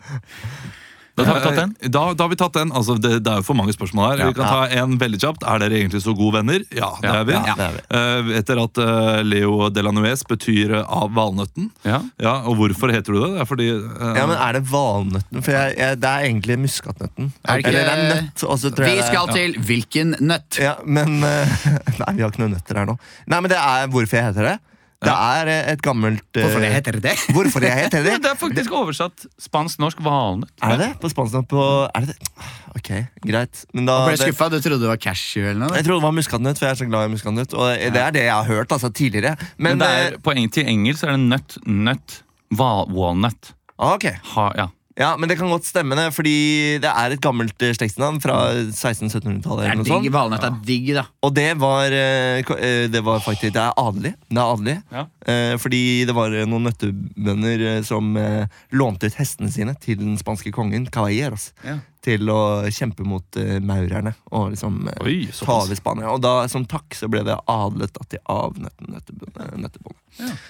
Da tar vi tatt den. Eh, Da, da har vi tatt den. Altså, det, det er jo for mange spørsmål her. Vi kan ta en veldig kjapt. Er dere egentlig så gode venner? Ja, det Ja, er vi. det er vi. Eh, etter at eh, Leo Delanuez betyr eh, av valnøtten. Ja. Ja, Og hvorfor heter du det? Det er fordi eh, Ja, men Er det valnøtten? For jeg, jeg, det er egentlig muskatnøtten. Er det ikke- Eller det er nøtt. Og så tror jeg Vi det er- skal til hvilken nøtt? Ja, men eh, Nei, vi har ikke noen nøtter her nå. Nei, men det er hvorfor jeg heter det. Det er eh, et gammelt eh, Hvorfor det heter det? Hvorfor jeg heter det? Det er faktisk oversatt spansk-norsk valnøtt. Er det det? På spansk nå på Er det det? Ok, greit. Men da Jeg ble det, skuffa, du trodde det var cashew eller noe? Jeg trodde det var muskatnøtt, for jeg er så glad i muskatnøtt. Og det er det jeg har hørt altså, tidligere. Men, Men det eh, er, på, eng- til engelsk er det nøtt, nøtt, val, walnut. ah, ok. Ha, ja. ja, men det kan godt stemme, det. Fordi det er et gammelt eh, slektsnavn fra 1600-1700-tallet. Det eller er noe digg, sånt. Valnøtt er digg, da. Og det var, eh, ko- eh, det var faktisk Det er adelig. Det er adelig. Ja. Eh, Fordi det var eh, noen nøttebønder eh, som eh, lånte ut hestene sine til den spanske kongen Caballeros. Ja. Til å kjempe mot eh, maurerne og liksom eh, Oi, ta såpass. over Spania. Og da, som takk så ble det adlet da, til avnøtten nøttebonde.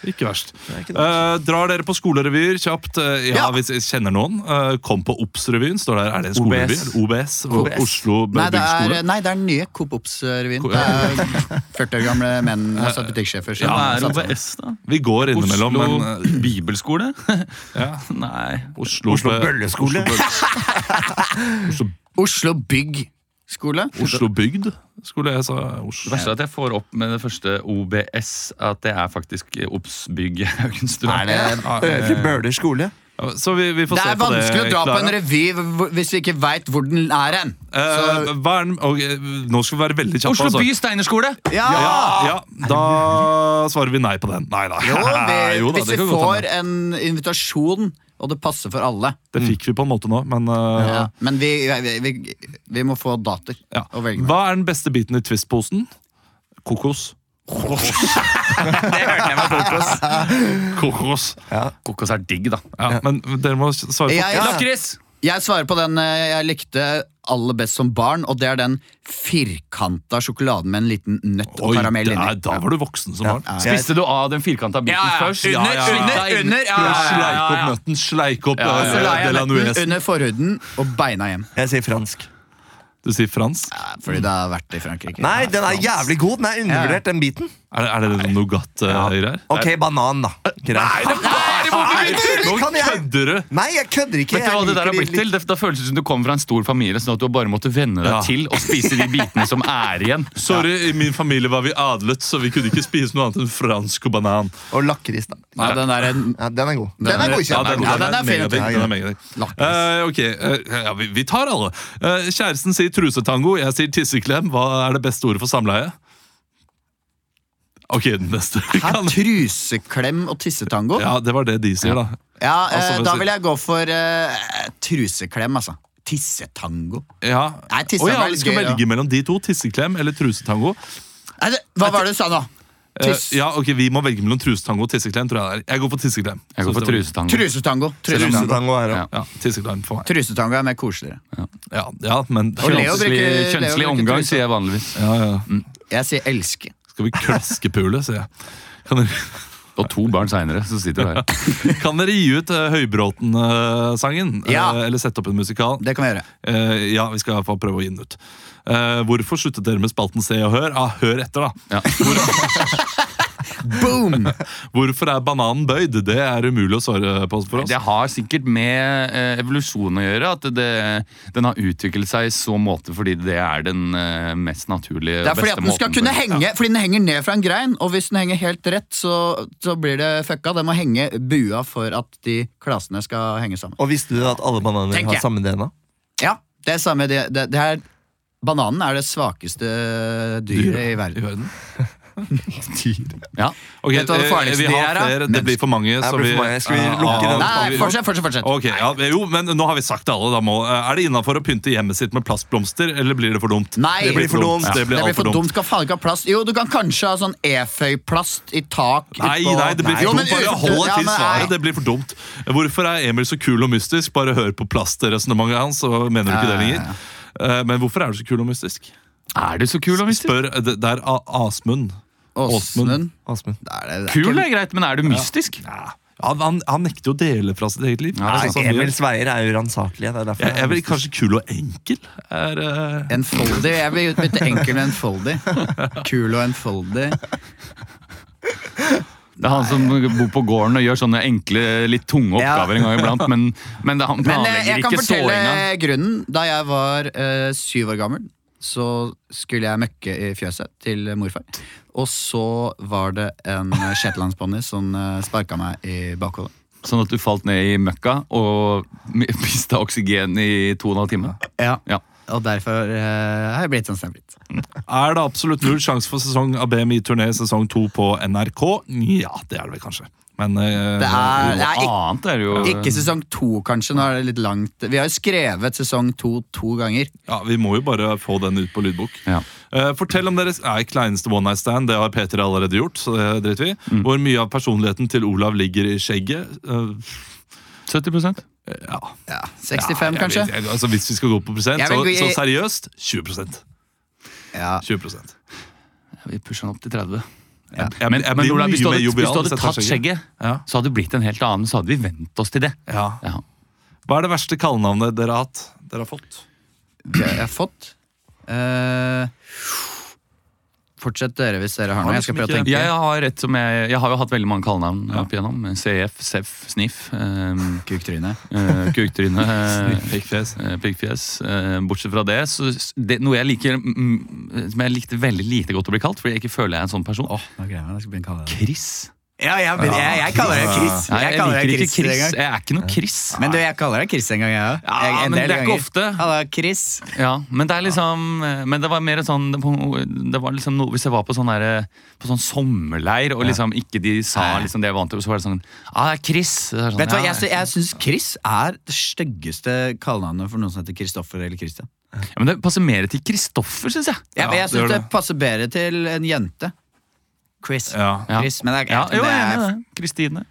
Ikke verst. Det er ikke det. Eh, drar dere på skolerevyer kjapt? Eh, ja, Ja. hvis jeg kjenner noen. Eh, kom på Obs-revyen. står der. Er det en skolerevy? OBS. OBS. OBS. Oslo Nei, det Bygdskole. er, nei, det er den nye Coop Ops-revyen. Ko- Det er 40 år gamle menn og butikksjefer. som Hva har er satt sammen. OBS, da? Vi går innimellom, Oslo men eh, bibelskole? ja. Nei. Oslo, Oslo Bø- Bølleskole. Oslo, Bøll- Oslo Bygg skole. Oslo bygd, skulle jeg sa. Det Oslo. verste er at jeg får opp med det første OBS, at det er faktisk eh, Obs-bygg i Haugenstua. Er det, Øvre Bøler skole. Ja, Så vi, vi får det se er på det. vanskelig å dra på Clara. en revy hvor- hvis du ikke veit hvor den er hen. Eh, Så, hva er den? ok, nå skal vi være veldig kjappe. Oslo altså. by steinerskole! ja! Ja, ja, da svarer vi nei på den. Nei da. Jo, vi, Jo da, hvis det vi kan godt får hende. en invitasjon, og det passer for alle. Det fikk vi på en måte nå, men eh, Ja. Men vi, vi, vi, vi må få dater ja. å velge mellom. Hva er den beste biten i Twist-posen? Kokos. Det hørte jeg meg på. Kokos. Kokos er digg, da. Ja, men dere må svare på Jeg- Ja. Lakris! Jeg svarer på den eh, jeg likte aller best som barn, og det er den firkanta sjokoladen med en liten nøtt og Oi, karamell det er- inni. da var du voksen som barn. Spiste du av den firkanta biten først? Ja, ja, ja. Slutta inn- Under, ja, Du ja, Sleik opp nøtten, sleik opp Ja, ja, eh, ja. La jeg Delanuez. nøtten under forhuden og beina hjem. Jeg sier fransk. Du sier fransk? Ja, Fordi det har vært i Frankrike. Nei, den er jævlig god! Den er undervurdert, den biten. Er det, er det noen nougat-greier her? Ok, banan, da. Greit. Nå Kan jeg- kødder du! Nei, jeg kødder ikke. Vet du hva Jeg det der liker har de blitt til? Det, da føles det som du kommer fra en stor familie, sånn at du bare måtte venne deg Ja. til å spise de bitene som er igjen. Sorry, i min familie var vi adlet, så vi kunne ikke spise noe annet enn fransk og banan. litt- Og lakris, da. Ja, den er en Ja, den er god. Den, er er Ja, godkjent. den- ja, den er fin. megadigg, Ja, ja. den er megadigg. Lakris. Eh, ok, eh, ja, vi, vi tar alle. Eh, kjæresten sier trusetango, jeg sier tisseklem. Hva er det beste ordet for samleie? Ok, den neste. Vi Hæ? kan- Truseklem og tissetango? Ja, Ja, det var det de sier, da. eh, Altså, hvis- Da vil jeg gå for eh, truseklem, altså. Tissetango. Ja. Nei, tissetango Å ja, er vi litt skal gøy, da. velge mellom de to. Tisseklem eller trusetango. Nei, det, hva var det du sa nå? Eh, Tiss... ja, ok, Vi må velge mellom trusetango og tisseklem. tror Jeg det er. Jeg går for tisseklem. Jeg går Synes for det var- trusetango. Trusetango. Trusetango. Trusetango er Ja. det. Ja, tisseklem for meg. Trusetango er mer koseligere. Ja, ja men Og Leo Kjønnslig, bruker- kjønnslig Leo bruker omgang, truse. sier jeg vanligvis. ja, ja. Jeg sier elske. Skal vi klaskepule, sier jeg. Kan dere, Og to barn seinere, så sitter du her. kan dere gi ut eh, Høybråten-sangen? Eh, Ja. eller sette opp en musikal? Det kan vi gjøre. Eh, ja, vi skal i hvert fall prøve å gi den ut. Eh, hvorfor sluttet dere med spalten Se og Hør? Ah, hør etter, da. Ja. Boom! Hvorfor er bananen bøyd? Det er umulig å svare på for oss. Det har sikkert med eh, evolusjon å gjøre. At det, den har utviklet seg i så måte fordi det er den eh, mest naturlige Det er og fordi beste at den skal måten kunne for- henge Fordi den henger ned fra en grein, og hvis den henger helt rett, så, så blir det fucka. Den må henge bua for at de klasene skal henge sammen. Og visste du at alle bananer Tenker har jeg. samme DNA? Ja, det er samme det, det, det er, Bananen er det svakeste dyret i verden. I verden. Ja. Ok, Vet du hva det eh, farligste vi har er, da? flere. Det blir for mange. Jeg så blir vi- Ah, for mange. Skal vi lukke den? Nei, fortsett, fortsett, fortsett. Ok, ja, Jo, men nå har vi sagt det alle. Da må, Eh, er det innafor å pynte hjemmet sitt med plastblomster, eller blir det for dumt? Nei, Det blir for dumt. Det blir Det blir alt for dumt. Skal faen ikke ha plast. Jo, du kan kanskje ha sånn eføyplast i tak. Nei, utpå- nei, det blir Jo, for men dumt. Bare ut- hold deg ja, til men nei. svaret. Det blir for dumt. Hvorfor er Emil så kul og mystisk? Bare hør på plastresonnementet hans, så mener du ikke det lenger. Eh, Men hvorfor er du så kul og mystisk? Er du så kul og mystisk? Spør, det det er A- Asmund. Åsmund. Åsmund. Det er det, det er Kul ikke- er greit, men er du mystisk? Han, han, han nekter jo å dele fra sitt eget liv. Nei, Sånn som vi gjør. Emils veier er uransakelige. Det er derfor jeg, jeg er vel jeg- kanskje kul og enkel? Er, eh, Enfoldig. Jeg vil bytte enkel med enfoldig. Kul og enfoldig. Det er han som bor på gården og gjør sånne enkle, litt tunge oppgaver en gang iblant. Men, men det, han Men eh, planlegger jeg kan ikke fortelle såringa. grunnen. Da jeg var eh, syv år gammel, så skulle jeg møkke i fjøset til morfar. Og så var det en eh, shetlandsponni som eh, sparka meg i bakhodet. Sånn at du falt ned i møkka og mi- mista oksygen i to og en halv time. Ja. Og derfor eh, har jeg blitt sånn som jeg har blitt. er det absolutt null sjanse for sesong av BMI-turné sesong to på NRK? Ja, det er det vel kanskje. Men eh, Det er, det er Noe ikke, annet er jo ikke sesong to, kanskje. Nå er det litt langt. Vi har jo skrevet sesong to to ganger. Ja, Vi må jo bare få den ut på lydbok. Ja. Eh, fortell om deres nei, kleineste one night stand. Det har Peter allerede gjort. så det driter vi. i. Mm. Hvor mye av personligheten til Olav ligger i skjegget? Eh, 70 ja. Ja, Ja, 65, jeg kanskje. vet- jeg- altså, hvis vi skal gå på prosent, Jeg vil så, gå i- så seriøst 20 Ja. 20 Vi pusher den opp til 30. Jeg, jeg, Men, jeg men blir Olav, hvis, mye du mer hadde, jovial hvis du hadde jeg tar tatt skjegget, Ja. så hadde det blitt en helt annen. Så hadde vi vent oss til det. Ja. Ja. Hva er det verste kallenavnet dere har hatt? Dere har fått? jeg har fått. Eh, fortsett dere hvis dere har noe. liksom Jeg skal prøve å tenke. Jeg har, et som jeg, jeg har jo hatt veldig mange kallenavn opp igjennom. CF, SEF, SNIF. Um, Kuktryne. Eh, Kuktryne, eh, Pikkfjes. eh, pikkfjes. Eh, Bortsett fra det, så s- det, noe jeg liker mm, som jeg likte veldig lite godt å bli kalt, fordi jeg ikke føler jeg er en sånn person. Chris. Ja, ja, men jeg, jeg kaller deg Chris. Nei, jeg, kaller deg liker Chris ikke Chris. en gang. Jeg er ikke noe Chris. Men du, jeg kaller deg Chris en gang, jeg òg. Ja, men det er ikke ofte. Sånn Halla, Chris. Ja, men det er liksom eh, Men det var mer en sånn det var- Det var liksom noe Hvis jeg var på sånn derre- På sånn sommerleir, og liksom ikke de sa liksom det jeg var vant til, så var det sånn ah, det er Chris. Så er det sånn, Vet du hva, ja, Jeg, sy- jeg syns Chris er det styggeste kallenavnet for noen som heter Kristoffer eller Christian. ja, Men det passer mer til Kristoffer, syns jeg. Ja, men Ja, jeg det gjør syns det det. passer bedre til en jente. Chris. Ja. Ja. Chris men det er, Ja, jo, det jeg er enig er, i det. Kristine.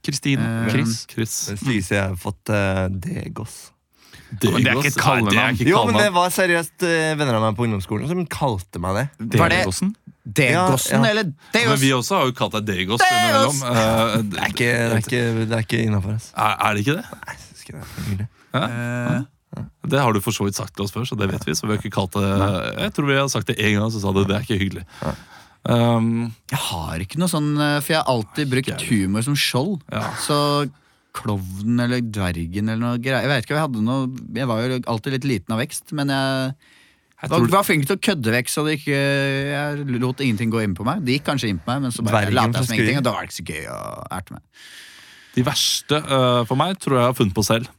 Kristine. Eh, Chris. Chris. Det styggeste jeg har fått, eh, Degos. Det Men det er ikke et kallenavn. Nei, det er ikke et Jo, men kallenavn. det var seriøst eh, venner av meg på ungdomsskolen som kalte meg det. Var det Degossen? Degossen Ja, ja. eller Men Deos? vi også har jo kalt deg Degos Degos! innimellom. Eh, Det er ikke, det er ikke, det er ikke innafor. Altså. er, er det ikke det? Nei, jeg synes ikke det er mulig. Eh, Det har du for så vidt sagt til oss før, så det vet vi. Så vi har ikke kalt det Jeg tror vi har sagt det én gang, så sa du det er ikke hyggelig. Um, Jeg har ikke noe sånn, eh, for jeg har Ah, alltid brukt humor som skjold. Så klovnen eller dvergen eller noe greier. Jeg vet ikke, jeg hadde noe Jeg var jo alltid litt liten av vekst, men jeg, jeg var, tror, var flink til å kødde vekk, så det ikke Jeg lot ingenting gå inn på meg. Det gikk kanskje inn på meg, men så bare Dvergen lot fra jeg som Skui. ingenting, og da var det ikke så gøy å erte meg. de verste eh, for meg tror jeg jeg har funnet på selv.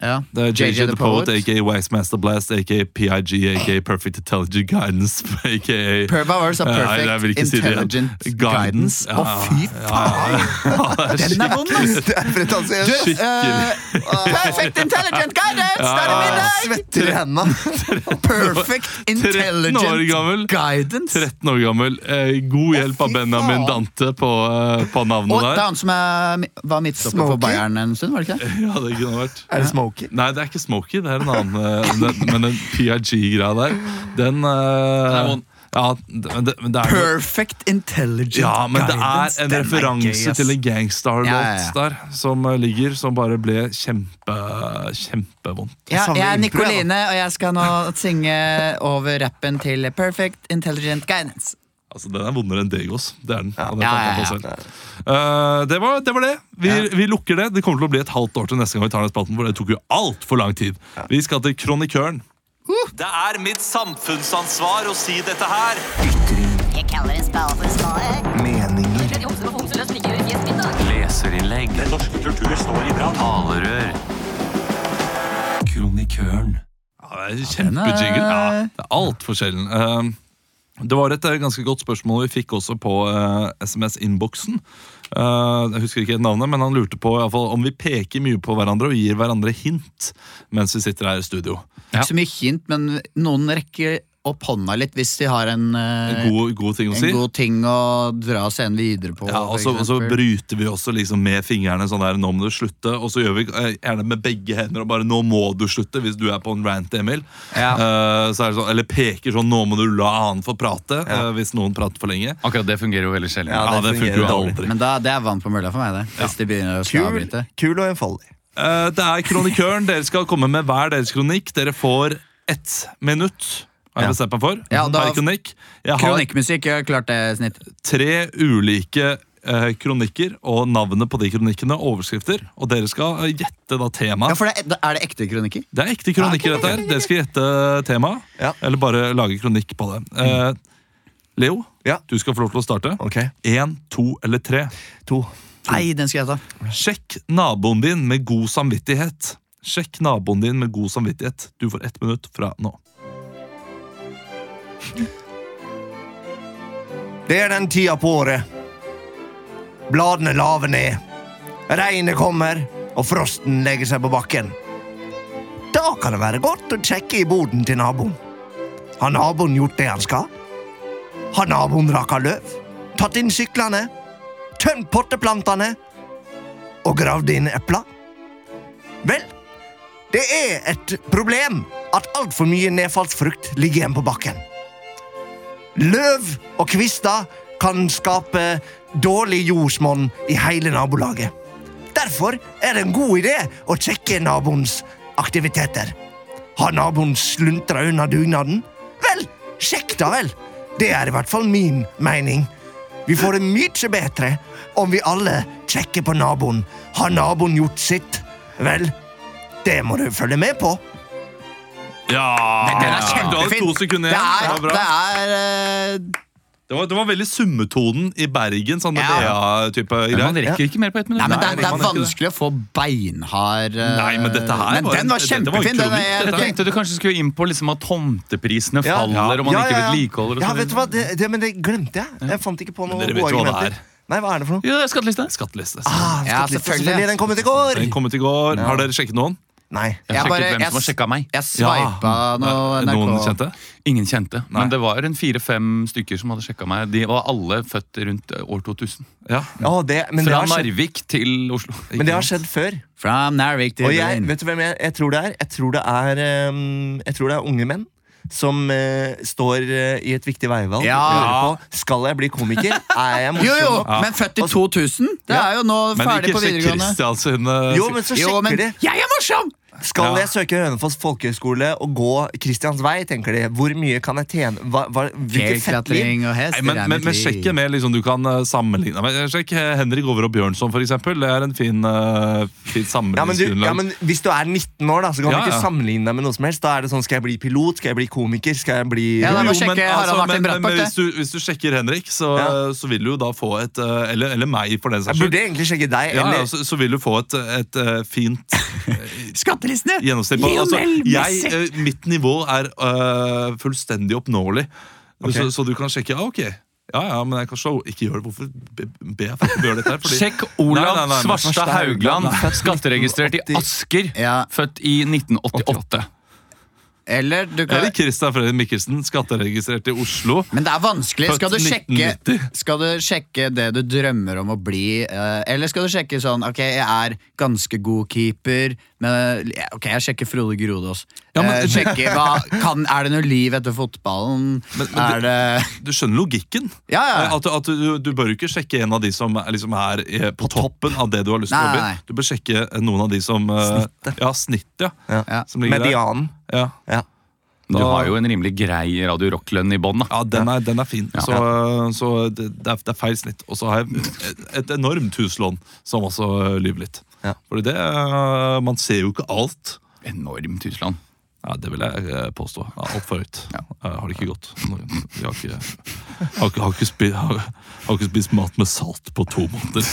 Ja. Det er JJ The Poet, aka Waxmaster Blast, aka PIG, aka Perfect Intelligent Guidance, aka Perva var så Nei, jeg vil perfect ikke si det igjen. intelligent guidance. Guidance, Å, ja. fy Ah, faen! Den er vond, ass! Det er pretensiøst. Du, Skikkelig. eh, perfect intelligent guidance! Da er det middag! Svetter i hendene. Perfect 13 år intelligent gammel. guidance. 13 år gammel. Eh, god hjelp av fy Benjamin faen. Dante på, eh, på Og navnet det er der. han som er, var midtstopper for Smokey? Bayern en stund, var det ikke det? Ja, det kunne det vært. Er det smoky? Nei, det er ikke Smokey, det er en annen eh, den, Men den PRG-greia der, den eh, er vond. ja, det, men det, men det er jo- Perfect intelligent ja, men det er guidance. en Den er gøy, referanse ass. til en gangstar-låt Ja, ja, ja. der som eh, ligger, som bare ble kjempe kjempevondt. ja, Jeg Samme er impro, jeg, da. Nikoline, og jeg skal nå synge over rappen til Perfect Intelligent Guidance. Altså, Den er vondere enn Degos. Det er den. og det Ja, fant jeg ja, på selv. Eh, det, var, det var det. Vi, vi lukker det. Det kommer til å bli et halvt år til neste gang vi tar den spalten, for det tok jo altfor lang tid. Vi skal til Kronikøren. Det er mitt samfunnsansvar å si dette her. Jeg kaller en spade for en spade. Leserinnlegg. Talerør. Kronikøren. Ja, det er Kjempejingle. Ja, det er altfor sjelden. Eh, Det var et eh, ganske godt spørsmål vi fikk også på eh, SMS-innboksen. Ehm, jeg husker ikke navnet, men han lurte på i alle fall, om vi peker mye på hverandre og gir hverandre hint mens vi sitter her i studio. Ja. Ikke så mye hint, men noen rekker opp hånda litt hvis de har en, eh, God, god ting å si. en god ting å dra scenen videre på. Ja, for og så, og så eksempel. bryter vi også liksom med fingrene sånn der, nå må du slutte, og så gjør vi eh, gjerne med begge hender og bare nå må du slutte hvis du er på en rant, Emil. Eh, så er det sånn, eller peker sånn, nå må du la han få prate, eh, hvis noen prater for lenge. Akkurat det fungerer jo veldig sjelden. Ja, Ja, det det funker jo fungerer dårlig. aldri. Men da, det er vann på mølla for meg, det. Hvis de begynner å skal Kul, avbryte. kul og enfoldig. Eh, det er kronikøren, dere skal komme med hver deres kronikk. Dere får ett minutt. Har jeg bestemt meg for? Ja, da- Per kronikk. Jeg har Kronikkmusikk, jeg har klart det snittet. tre ulike eh, kronikker og navnet på de kronikkene, overskrifter, og dere skal eh, gjette da temaet. Ja, for det er, er det ekte kronikker? Det er ekte kronikker, dette her. Dere skal gjette temaet. Ja. Eller bare lage kronikk på det. Eh, Leo, Ja. du skal få lov til å starte. Ok, Én, to eller tre. to. Nei, den skal jeg ta. Sjekk naboen din med god samvittighet. Sjekk naboen din med god samvittighet. Du får ett minutt fra nå. Det er den tida på året. Bladene laver ned. Regnet kommer, og frosten legger seg på bakken. Da kan det være godt å sjekke i boden til naboen. Har naboen gjort det han skal? Har naboen raka løv? Tatt inn syklene? Tømt potteplantene? Og gravd inn epla? Vel, det er et problem at altfor mye nedfallsfrukt ligger igjen på bakken. Løv og kvister kan skape dårlig jordsmonn i hele nabolaget. Derfor er det en god idé å sjekke naboens aktiviteter. Har naboen sluntra unna dugnaden? Vel, sjekk da vel! Det er i hvert fall min mening. Vi får det mye bedre om vi alle sjekker på naboen. Har naboen gjort sitt? Vel, det må du følge med på. Ja! Den er Du har kjempefin! to sekunder igjen. Det Ah, Det er, var bra. det er eh, Det var, det var veldig summetonen i Bergen. Sånn Ja. BA-type Men man greier. rekker ikke mer på ett minutt. Nei, men det, Nei, er- det man er er ikke det. vanskelig å få beinhard eh, Nei, men dette her Men var en- den dette var var en kjempefin! Den kronikk, er, Jeg jeg, tenkte du kanskje skulle inn på liksom at tomteprisene Ja. faller, og man ikke vedlikeholder. og Ja, så vet du videre. hva, det, det, men det glemte jeg. Jeg fant ikke på noen dere gode vet jo hva det argumenter. Nei, hva er det for noe? Ja, det er skatteliste. Skatteliste. Ah, Ja, skatteliste, selvfølgelig. Den kom ut i går! Den kom ut i går. Har dere sjekket noen? Nei. Jeg Jeg sjekket bare- hvem jeg som har s- sjekka meg. jeg sveipa noe NRK. Noen kjente? Ingen kjente. Men det var en fire-fem stykker som hadde sjekka meg. De var alle født rundt eh, år 2000. Ja. Ja, det, men, det Fra har skjedd, Narvik til Oslo. men det har skjedd før. Fra Narvik til Og jeg, Berlin. vet du hvem jeg, jeg tror det er? Jeg tror det er, ehm, jeg tror det er unge menn. Som eh, står eh, i et viktig veivalg. Ja. Lurer På, skal jeg bli komiker? Er jeg morsom? Jo, jo, nok? men født i 2000! Det er jo nå Men ferdig ikke på sjekk videregående. Kristiansund. eh, Jo, men så sjekker Jo, men de. jeg er morsom! Skal jeg søke Hønefoss folkehøgskole og gå Kristians vei? tenker de. Hvor mye kan jeg tjene? Hva, hva, hvilket fettliv? Fjellklatring og hest. Nei, men, det er men, mitt men liv. sjekke med liksom, du kan eh, sammenligne men, eh, Sjekk eh, Henrik Over og Bjørnson for eksempel Det er en fin, eh, fin Ja men, du, sammenligningsgrunnlag ja, men Hvis du er 19 år, da, så kan Ja, du ja. ikke sammenligne deg med noe som helst. Da er det sånn, Skal jeg bli pilot? Skal jeg bli komiker? Skal jeg bli Ja, da må Jo, jeg sjekke men, Harald Martin altså, men, men, Brattbakk, det. hvis, du, hvis du sjekker Henrik så, Ja. så vil du jo da få et eh, Eller, eller meg for den Jeg saks skyld burde egentlig sjekke deg. ja, altså, ja, eller, så, så vil du få et, et eh, fint eh, Skattelistene! gjennomsnitt på- altså, jeg, eh, Mitt nivå er eh, fullstendig oppnåelig så, så du kan sjekke, ja ok ja, ja, men jeg kan show. Ikke gjør det, hvorfor be, be jeg folk om å gjøre dette her? Fordi- Sjekk Nei, nei, nei, Olav nei. Svarstad Haugland, Nei. skatteregistrert i 1980. Asker. Ja. Født i 1988. Eller du kan Eller Christian Fredrik Mikkelsen, skatteregistrert i Oslo. Men det er vanskelig. Født Skal du, sjekke, 1990. skal du sjekke det du drømmer om å bli, eh, eller skal du sjekke sånn Ok, jeg er ganske god keeper, men eh, ok, jeg sjekker Frode Grodås. Ja, men- Eh, sjekke hva kan, Er det noe liv etter fotballen? er det Du skjønner logikken? Ja, ja, ja. At, at du, du bør jo ikke sjekke en av de som er, liksom er eh, på toppen av det du har lyst til Nei, å nei, bli. nei. Du bør sjekke noen av de som eh, Ja, snittet. Ja, Ja. Ja. Som ligger der. Medianen. Ja. Ja. Du Da- har jo en rimelig grei Radio Rock-lønn i bånn. da. Ja, den er, den er fin. Så, eh, så det, det, er, det er feil snitt. Og så har jeg et, et enormt huslån, som også eh, lyver litt. Ja. Fordi det eh, Man ser jo ikke alt. Enormt husland. Ja, Det vil jeg eh, påstå. Ja, Altfor høyt. Eh, Har det ikke gått. Vi har ikke, har, ikke, har, ikke spi, har, har ikke spist mat med salt på to måneder.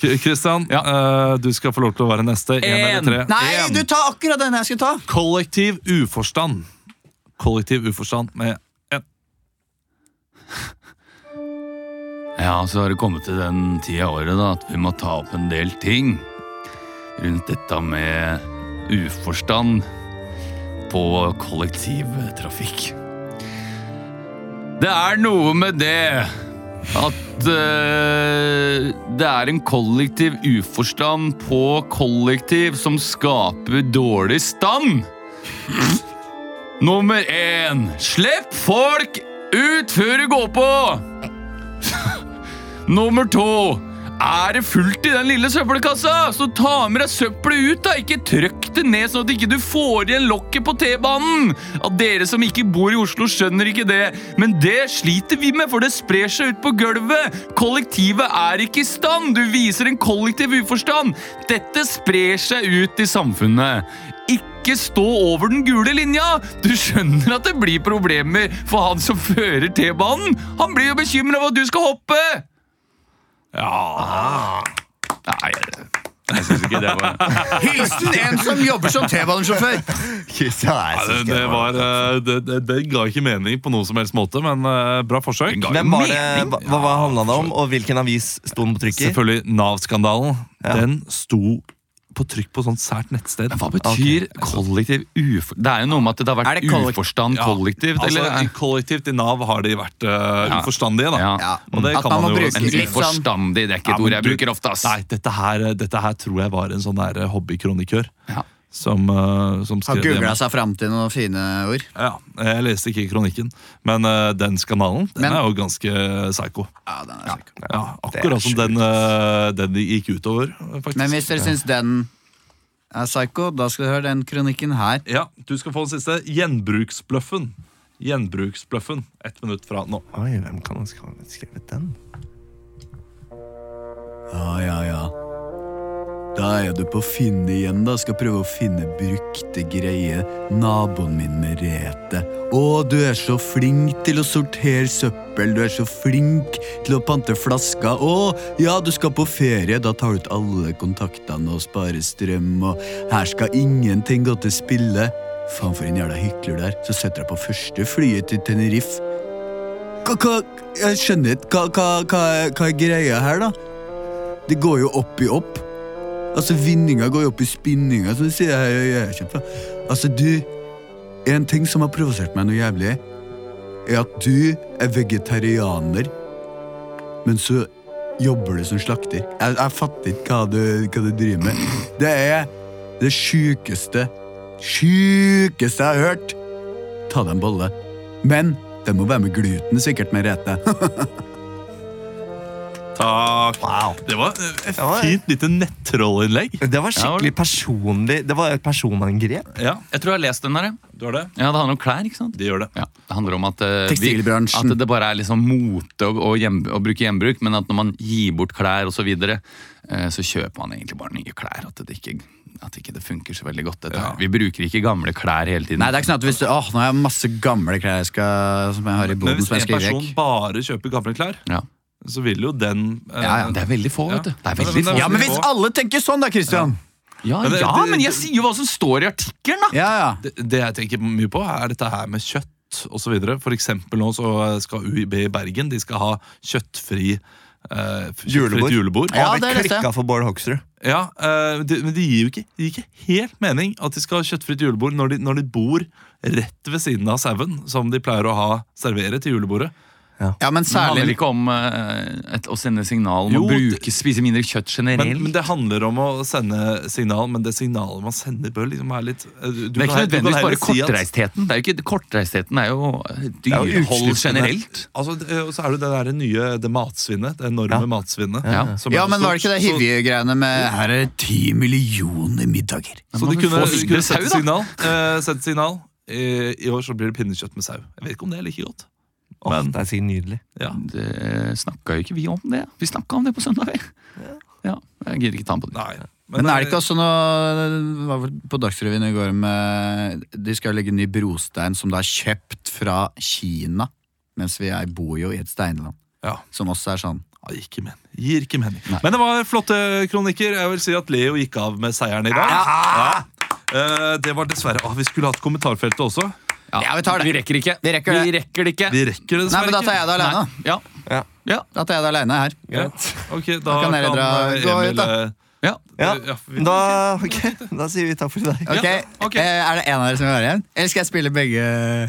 K- Kristian, eh, du skal få lov til å være neste. En En. eller tre. Nei, En. du tar akkurat den jeg skulle ta! Kollektiv uforstand. Kollektiv uforstand med en. Ja, så har det kommet til den tida av året da, at vi må ta opp en del ting rundt dette med uforstand på kollektivtrafikk. Det er noe med det at eh, det er en kollektiv uforstand på kollektiv som skaper dårlig stand. Nummer én slipp folk ut før du går på! Nummer to. Er det fullt i den lille søppelkassa, så ta med deg søppelet ut. da. Ikke trøkk det ned, sånn at ikke du får igjen lokket på T-banen. At Dere som ikke bor i Oslo, skjønner ikke det. Men det sliter vi med, for det sprer seg ut på gulvet. Kollektivet er ikke i stand. Du viser en kollektiv uforstand. Dette sprer seg ut i samfunnet. Ikke stå over den gule linja! Du skjønner at det blir problemer for han som fører T-banen. Han blir jo bekymra over at du skal hoppe! Nei, jeg syns ikke det var Hilsen en som jobber som T-banesjåfør! Kristian Nei, er så det, det skrevet. var eh, det, det, det ga ikke mening på noen som helst måte, men eh, bra forsøk. Hvem var det, hva, hva handla det om, og hvilken avis sto den på trykk i? Selvfølgelig Nav-skandalen. Ja. Den sto på trykk på sånt sært nettsted. Hva betyr kollektiv ufor... Det er jo noe med at det har Er vært det kollektiv- uforstand Ja, kollektivt, altså, i eller? Kollektivt i Nav har de vært eh, Ja. uforstandige, da. Ja. Ja. Og det At kan man man må jo bruke En litt sånn uforstandig, det er ikke Ja, et men ord jeg du- bruker ofte, ass. Nei, dette her, dette her tror jeg var en sånn der hobbykronikør Ja. som, eh, som Har skrev det. googla seg fram til noen fine ord. Ja, jeg leste ikke kronikken, men eh, den skandalen den Men- er jo ganske psycho. Ja, den er sikker. Ja, akkurat som den, eh, den de gikk utover, faktisk. Men hvis dere syns den er psycho, da skal dere høre den kronikken her. Ja, du skal få den siste. Gjenbruksbløffen. Gjenbruksbløffen. Ett minutt fra nå. Oi, hvem kan ha skrevet- skrevet den? Ja, ja, ja. Da er du på Finne igjen, da. Skal prøve å finne brukte greier. Naboen min Merete. Å, du er så flink til å sortere søppel. Du er så flink til å pante flasker. Å, ja, du skal på ferie. Da tar du ut alle kontaktene og sparer strøm. Og her skal ingenting gå til spille. Faen, for en jævla hykler der. Så setter jeg på første flyet til Tenerife. Hva, hva, jeg skjønner ikke. Hva, hva, hva, er- hva er greia her, da? Det går jo opp i opp. Altså, vinninga går jo opp i spinninga, som du sier. Jeg, jeg, jeg, er ikke fra- Altså, du En ting som har provosert meg noe jævlig, er at du er vegetarianer, men så jobber du som slakter. Jeg, jeg fatter ikke hva du, hva du driver med. Det er det sjukeste, sjukeste jeg har hørt. Ta deg en bolle. Men den må være med gluten, sikkert, Merete. Takk. Det var et var- fint lite nettrollinnlegg. Det var skikkelig personlig. Det var et personangrep. Ja, Jeg tror jeg har lest den der. ja. du har det? Ja, det handler om klær, ikke sant? De gjør det. Ja, Det handler om at, eh, Tekstilbransjen. vi, at det bare er liksom mote å, å, gjem, å bruke gjenbruk, men at når man gir bort klær osv., så, videre, eh, så kjøper man egentlig bare nye klær. At det ikke, at ikke det funker så veldig godt. Dette. her. Vi bruker ikke gamle klær hele tiden. Nei, det er ikke sånn at hvis du, åh, nå har jeg masse gamle klær jeg skal, som jeg har i Men boden hvis som jeg en skriver person vekk. bare kjøper gamle klær, ja. så vil jo den eh, Ja, ja, det er veldig få, Ja. vet du. Det er Ja, veldig men- få. Ja, men hvis alle tenker sånn da, Kristian! Ja, Men det- ja, det- men jeg sier jo hva som står i artikkelen, da! Ja, ja. det, det jeg tenker mye på, er dette her med kjøtt osv. For eksempel nå så skal UiB i Bergen De skal ha kjøttfri eh, kjøttfritt Julebord. julebord. Ja, Har vi det leste jeg. klikka for Bård Hoksrud? Ja, eh, det- Men det gir jo ikke, det gir ikke helt mening at de skal ha kjøttfritt julebord når de, når de bor rett ved siden av sauen, som de pleier å ha servere til julebordet. Ja, men Det handler særlig ikke om eh, et, å sende signal om Jo, å det- bruke, spise mindre kjøtt generelt. Men, men Det handler om å sende signal, men det signalet man sender, bør liksom være litt eh, du- du det er kan- du ikke kan nødvendigvis heller bare si at- kortreistheten. Det er jo ikke, kortreistheten er jo eh, jo dyrehold utslippene. generelt. Altså, det- og så er det det der nye det matsvinnet. Det enorme matsvinnet. Ja. som Ja, er men så var det ikke det stort. Så- hivige greiene med Her er det ti millioner middager. Så de men kunne, få de mindre kunne sau, sette da. signal. Eh, sette signal. I, I år så blir det pinnekjøtt med sau. Jeg vet ikke om det er like godt. Åh, Men- det er sikkert nydelig. Ja. Det snakka jo ikke vi om det. Vi snakka om det på søndag. vi. Ja, jeg gidder ikke ta den på det. Nei. Men er det ikke også noe Det var vel på Dagsrevyen i går med De skal legge ny brostein som da er kjøpt fra Kina. Mens vi er, bor jo i et steinland. Ja. Som også er sånn. Ja, gir ikke mening. Gir ikke mening. Men det var flotte kronikker. Jeg vil si at Leo gikk av med seieren i dag. Ja. Eh, det var dessverre Å, Vi skulle hatt kommentarfeltet også. Ja, vi tar det. rekker ikke. Vi rekker det. rekker det ikke. Vi rekker det Nei, dessverre men da tar ikke. jeg det alene. Ja. Ja. Ja. Da tar jeg det aleine her. Greit. Ok, da, Da kan kan, dere dra- gå ut, Emil da. eh, Ja. Ja, ja, vi- da, ok, da sier vi takk for i dag. Ok, ok. Eh, Er det en av dere som vil være igjen? Eller skal jeg spille begge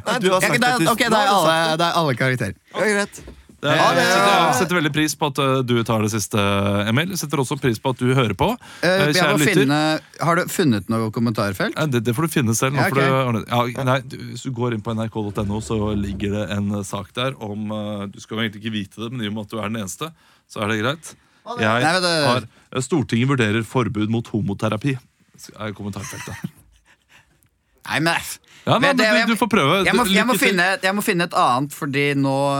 Nei, du har Ja, sagt da, at du- Ok, da er nå har du alle, sagt da er alle karakterer. Ja, greit. Det er, Ha det! setter, jeg setter veldig pris på at eh, du tar det siste, eh, Emil. Setter også pris på at du hører på. Eh, Eh, jeg må finne, har du funnet noe kommentarfelt? Nei, det, det får du finne selv. Nå Ja, får du ordne det. ja, nei, du, hvis du går inn på nrk.no, så ligger det en eh, sak der om eh, Du skal jo egentlig ikke vite det, men i og med at du er den eneste, så er det greit. Jeg Nei, men det- har, eh, Stortinget vurderer forbud mot homoterapi. Er kommentarfeltet. Nei, men f- Ja, nei, Men det- men du, du får prøve. jeg må, jeg, må Lykke til. finne, jeg må finne et annet, fordi nå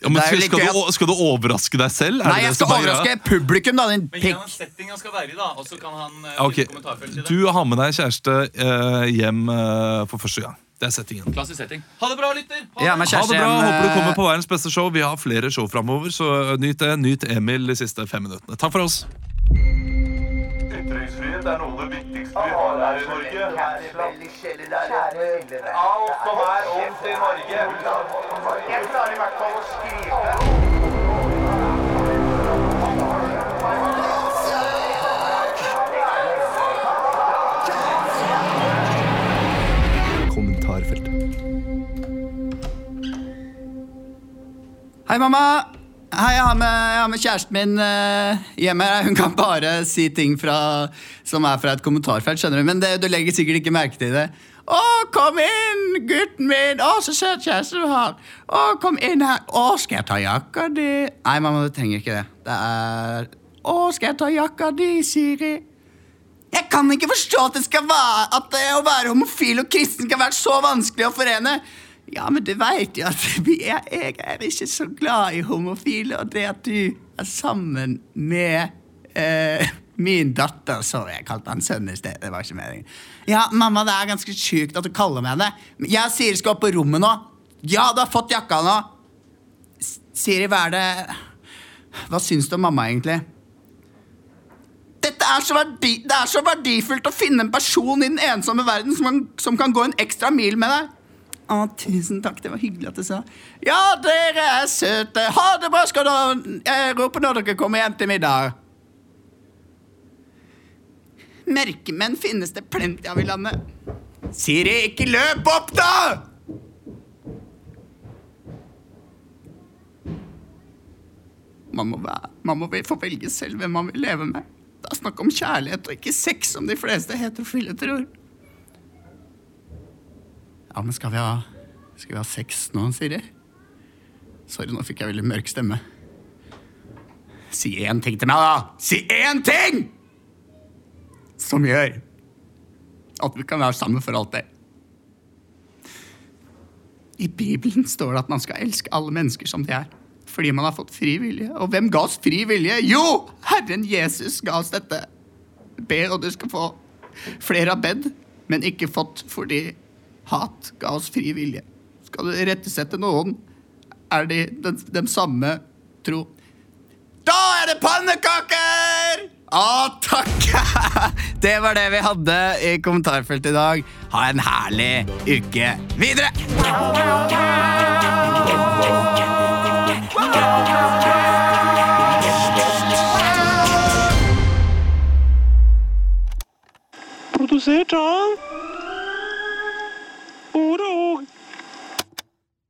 ja, men, det er jo skal, litt skal, gøy du, at- o- skal du overraske deg selv? Er Nei, det det jeg som er skal greia? overraske publikum, da, din Men pikk. gjennom settinga skal være i, da. Og så kan han eh, Ok, fylle kommentarfelt i det. Du har med deg kjæreste eh, hjem eh, for første gang. Det er settingen. Klassisk setting. Ha det bra, lytter! Ha Ja, men Ha kjæreste det bra, hjem, Håper du eh, kommer på verdens beste show. Vi har flere show framover, så eh, nyt det. Nyt Emil de siste fem minuttene. Takk for oss. Ytringsfrihet er noe av det viktigste vi har her i Norge. Alt som er ondt i Norge. Jeg klarer i hvert fall å skrive. Kommentarfelt. Hei, mamma! Hei, jeg har med, jeg har med kjæresten min eh, hjemme. her. Hun kan bare si ting fra, som er fra et kommentarfelt, skjønner du. Men det, du legger sikkert ikke merke til det. Å, kom inn, gutten min! Å, så søt kjæreste du har! Å, kom inn her! Å, skal jeg ta jakka di? Nei, mamma, du trenger ikke det. Det er Å, skal jeg ta jakka di, Siri? Jeg kan ikke forstå at det skal være At det å være homofil og kristen skal være så vanskelig å forene. Ja, men du veit jo at vi er, jeg er ikke så glad i homofile, og det at du er sammen med eh, min datter Sorry, jeg kalte han sønn i sted. Det var ikke meningen. Ja, mamma, det er ganske sjukt at du kaller meg det. Men Jeg sier du skal opp på rommet nå. Ja, du har fått jakka nå. S- Siri, hva er det Hva syns du om mamma, egentlig? Dette er så, verdi, det er så verdifullt å finne en person i den ensomme verden som kan, som kan gå en ekstra mil med deg. Å, tusen takk, det var hyggelig at du sa. Ja, dere er søte. Ha det bra, skal dere Jeg roper når dere kommer hjem til middag. Merkemenn finnes det plenty av i landet. Siri, ikke løp opp, da! Man må, væ- man må få velge selv hvem man vil leve med. Det er snakk om kjærlighet og ikke sex, som de fleste heterofile tror. Ja, men skal vi ha, skal vi ha sex nå, Siri? Sorry, nå fikk jeg veldig mørk stemme. Si én ting til meg, da! Si én ting! Som gjør at vi kan være sammen for alltid. I Bibelen står det at man skal elske alle mennesker som de er. Fordi man har fått fri vilje. Og hvem ga oss fri vilje? Jo! Herren Jesus ga oss dette. Be, og du skal få. Flere har bedt, men ikke fått fordi hat ga oss fri vilje. Skal du rettesette noen, er de den, dem samme tro. Da er det pannekaker! Å, takk! Det var det vi hadde i kommentarfeltet i dag. Ha en herlig uke videre!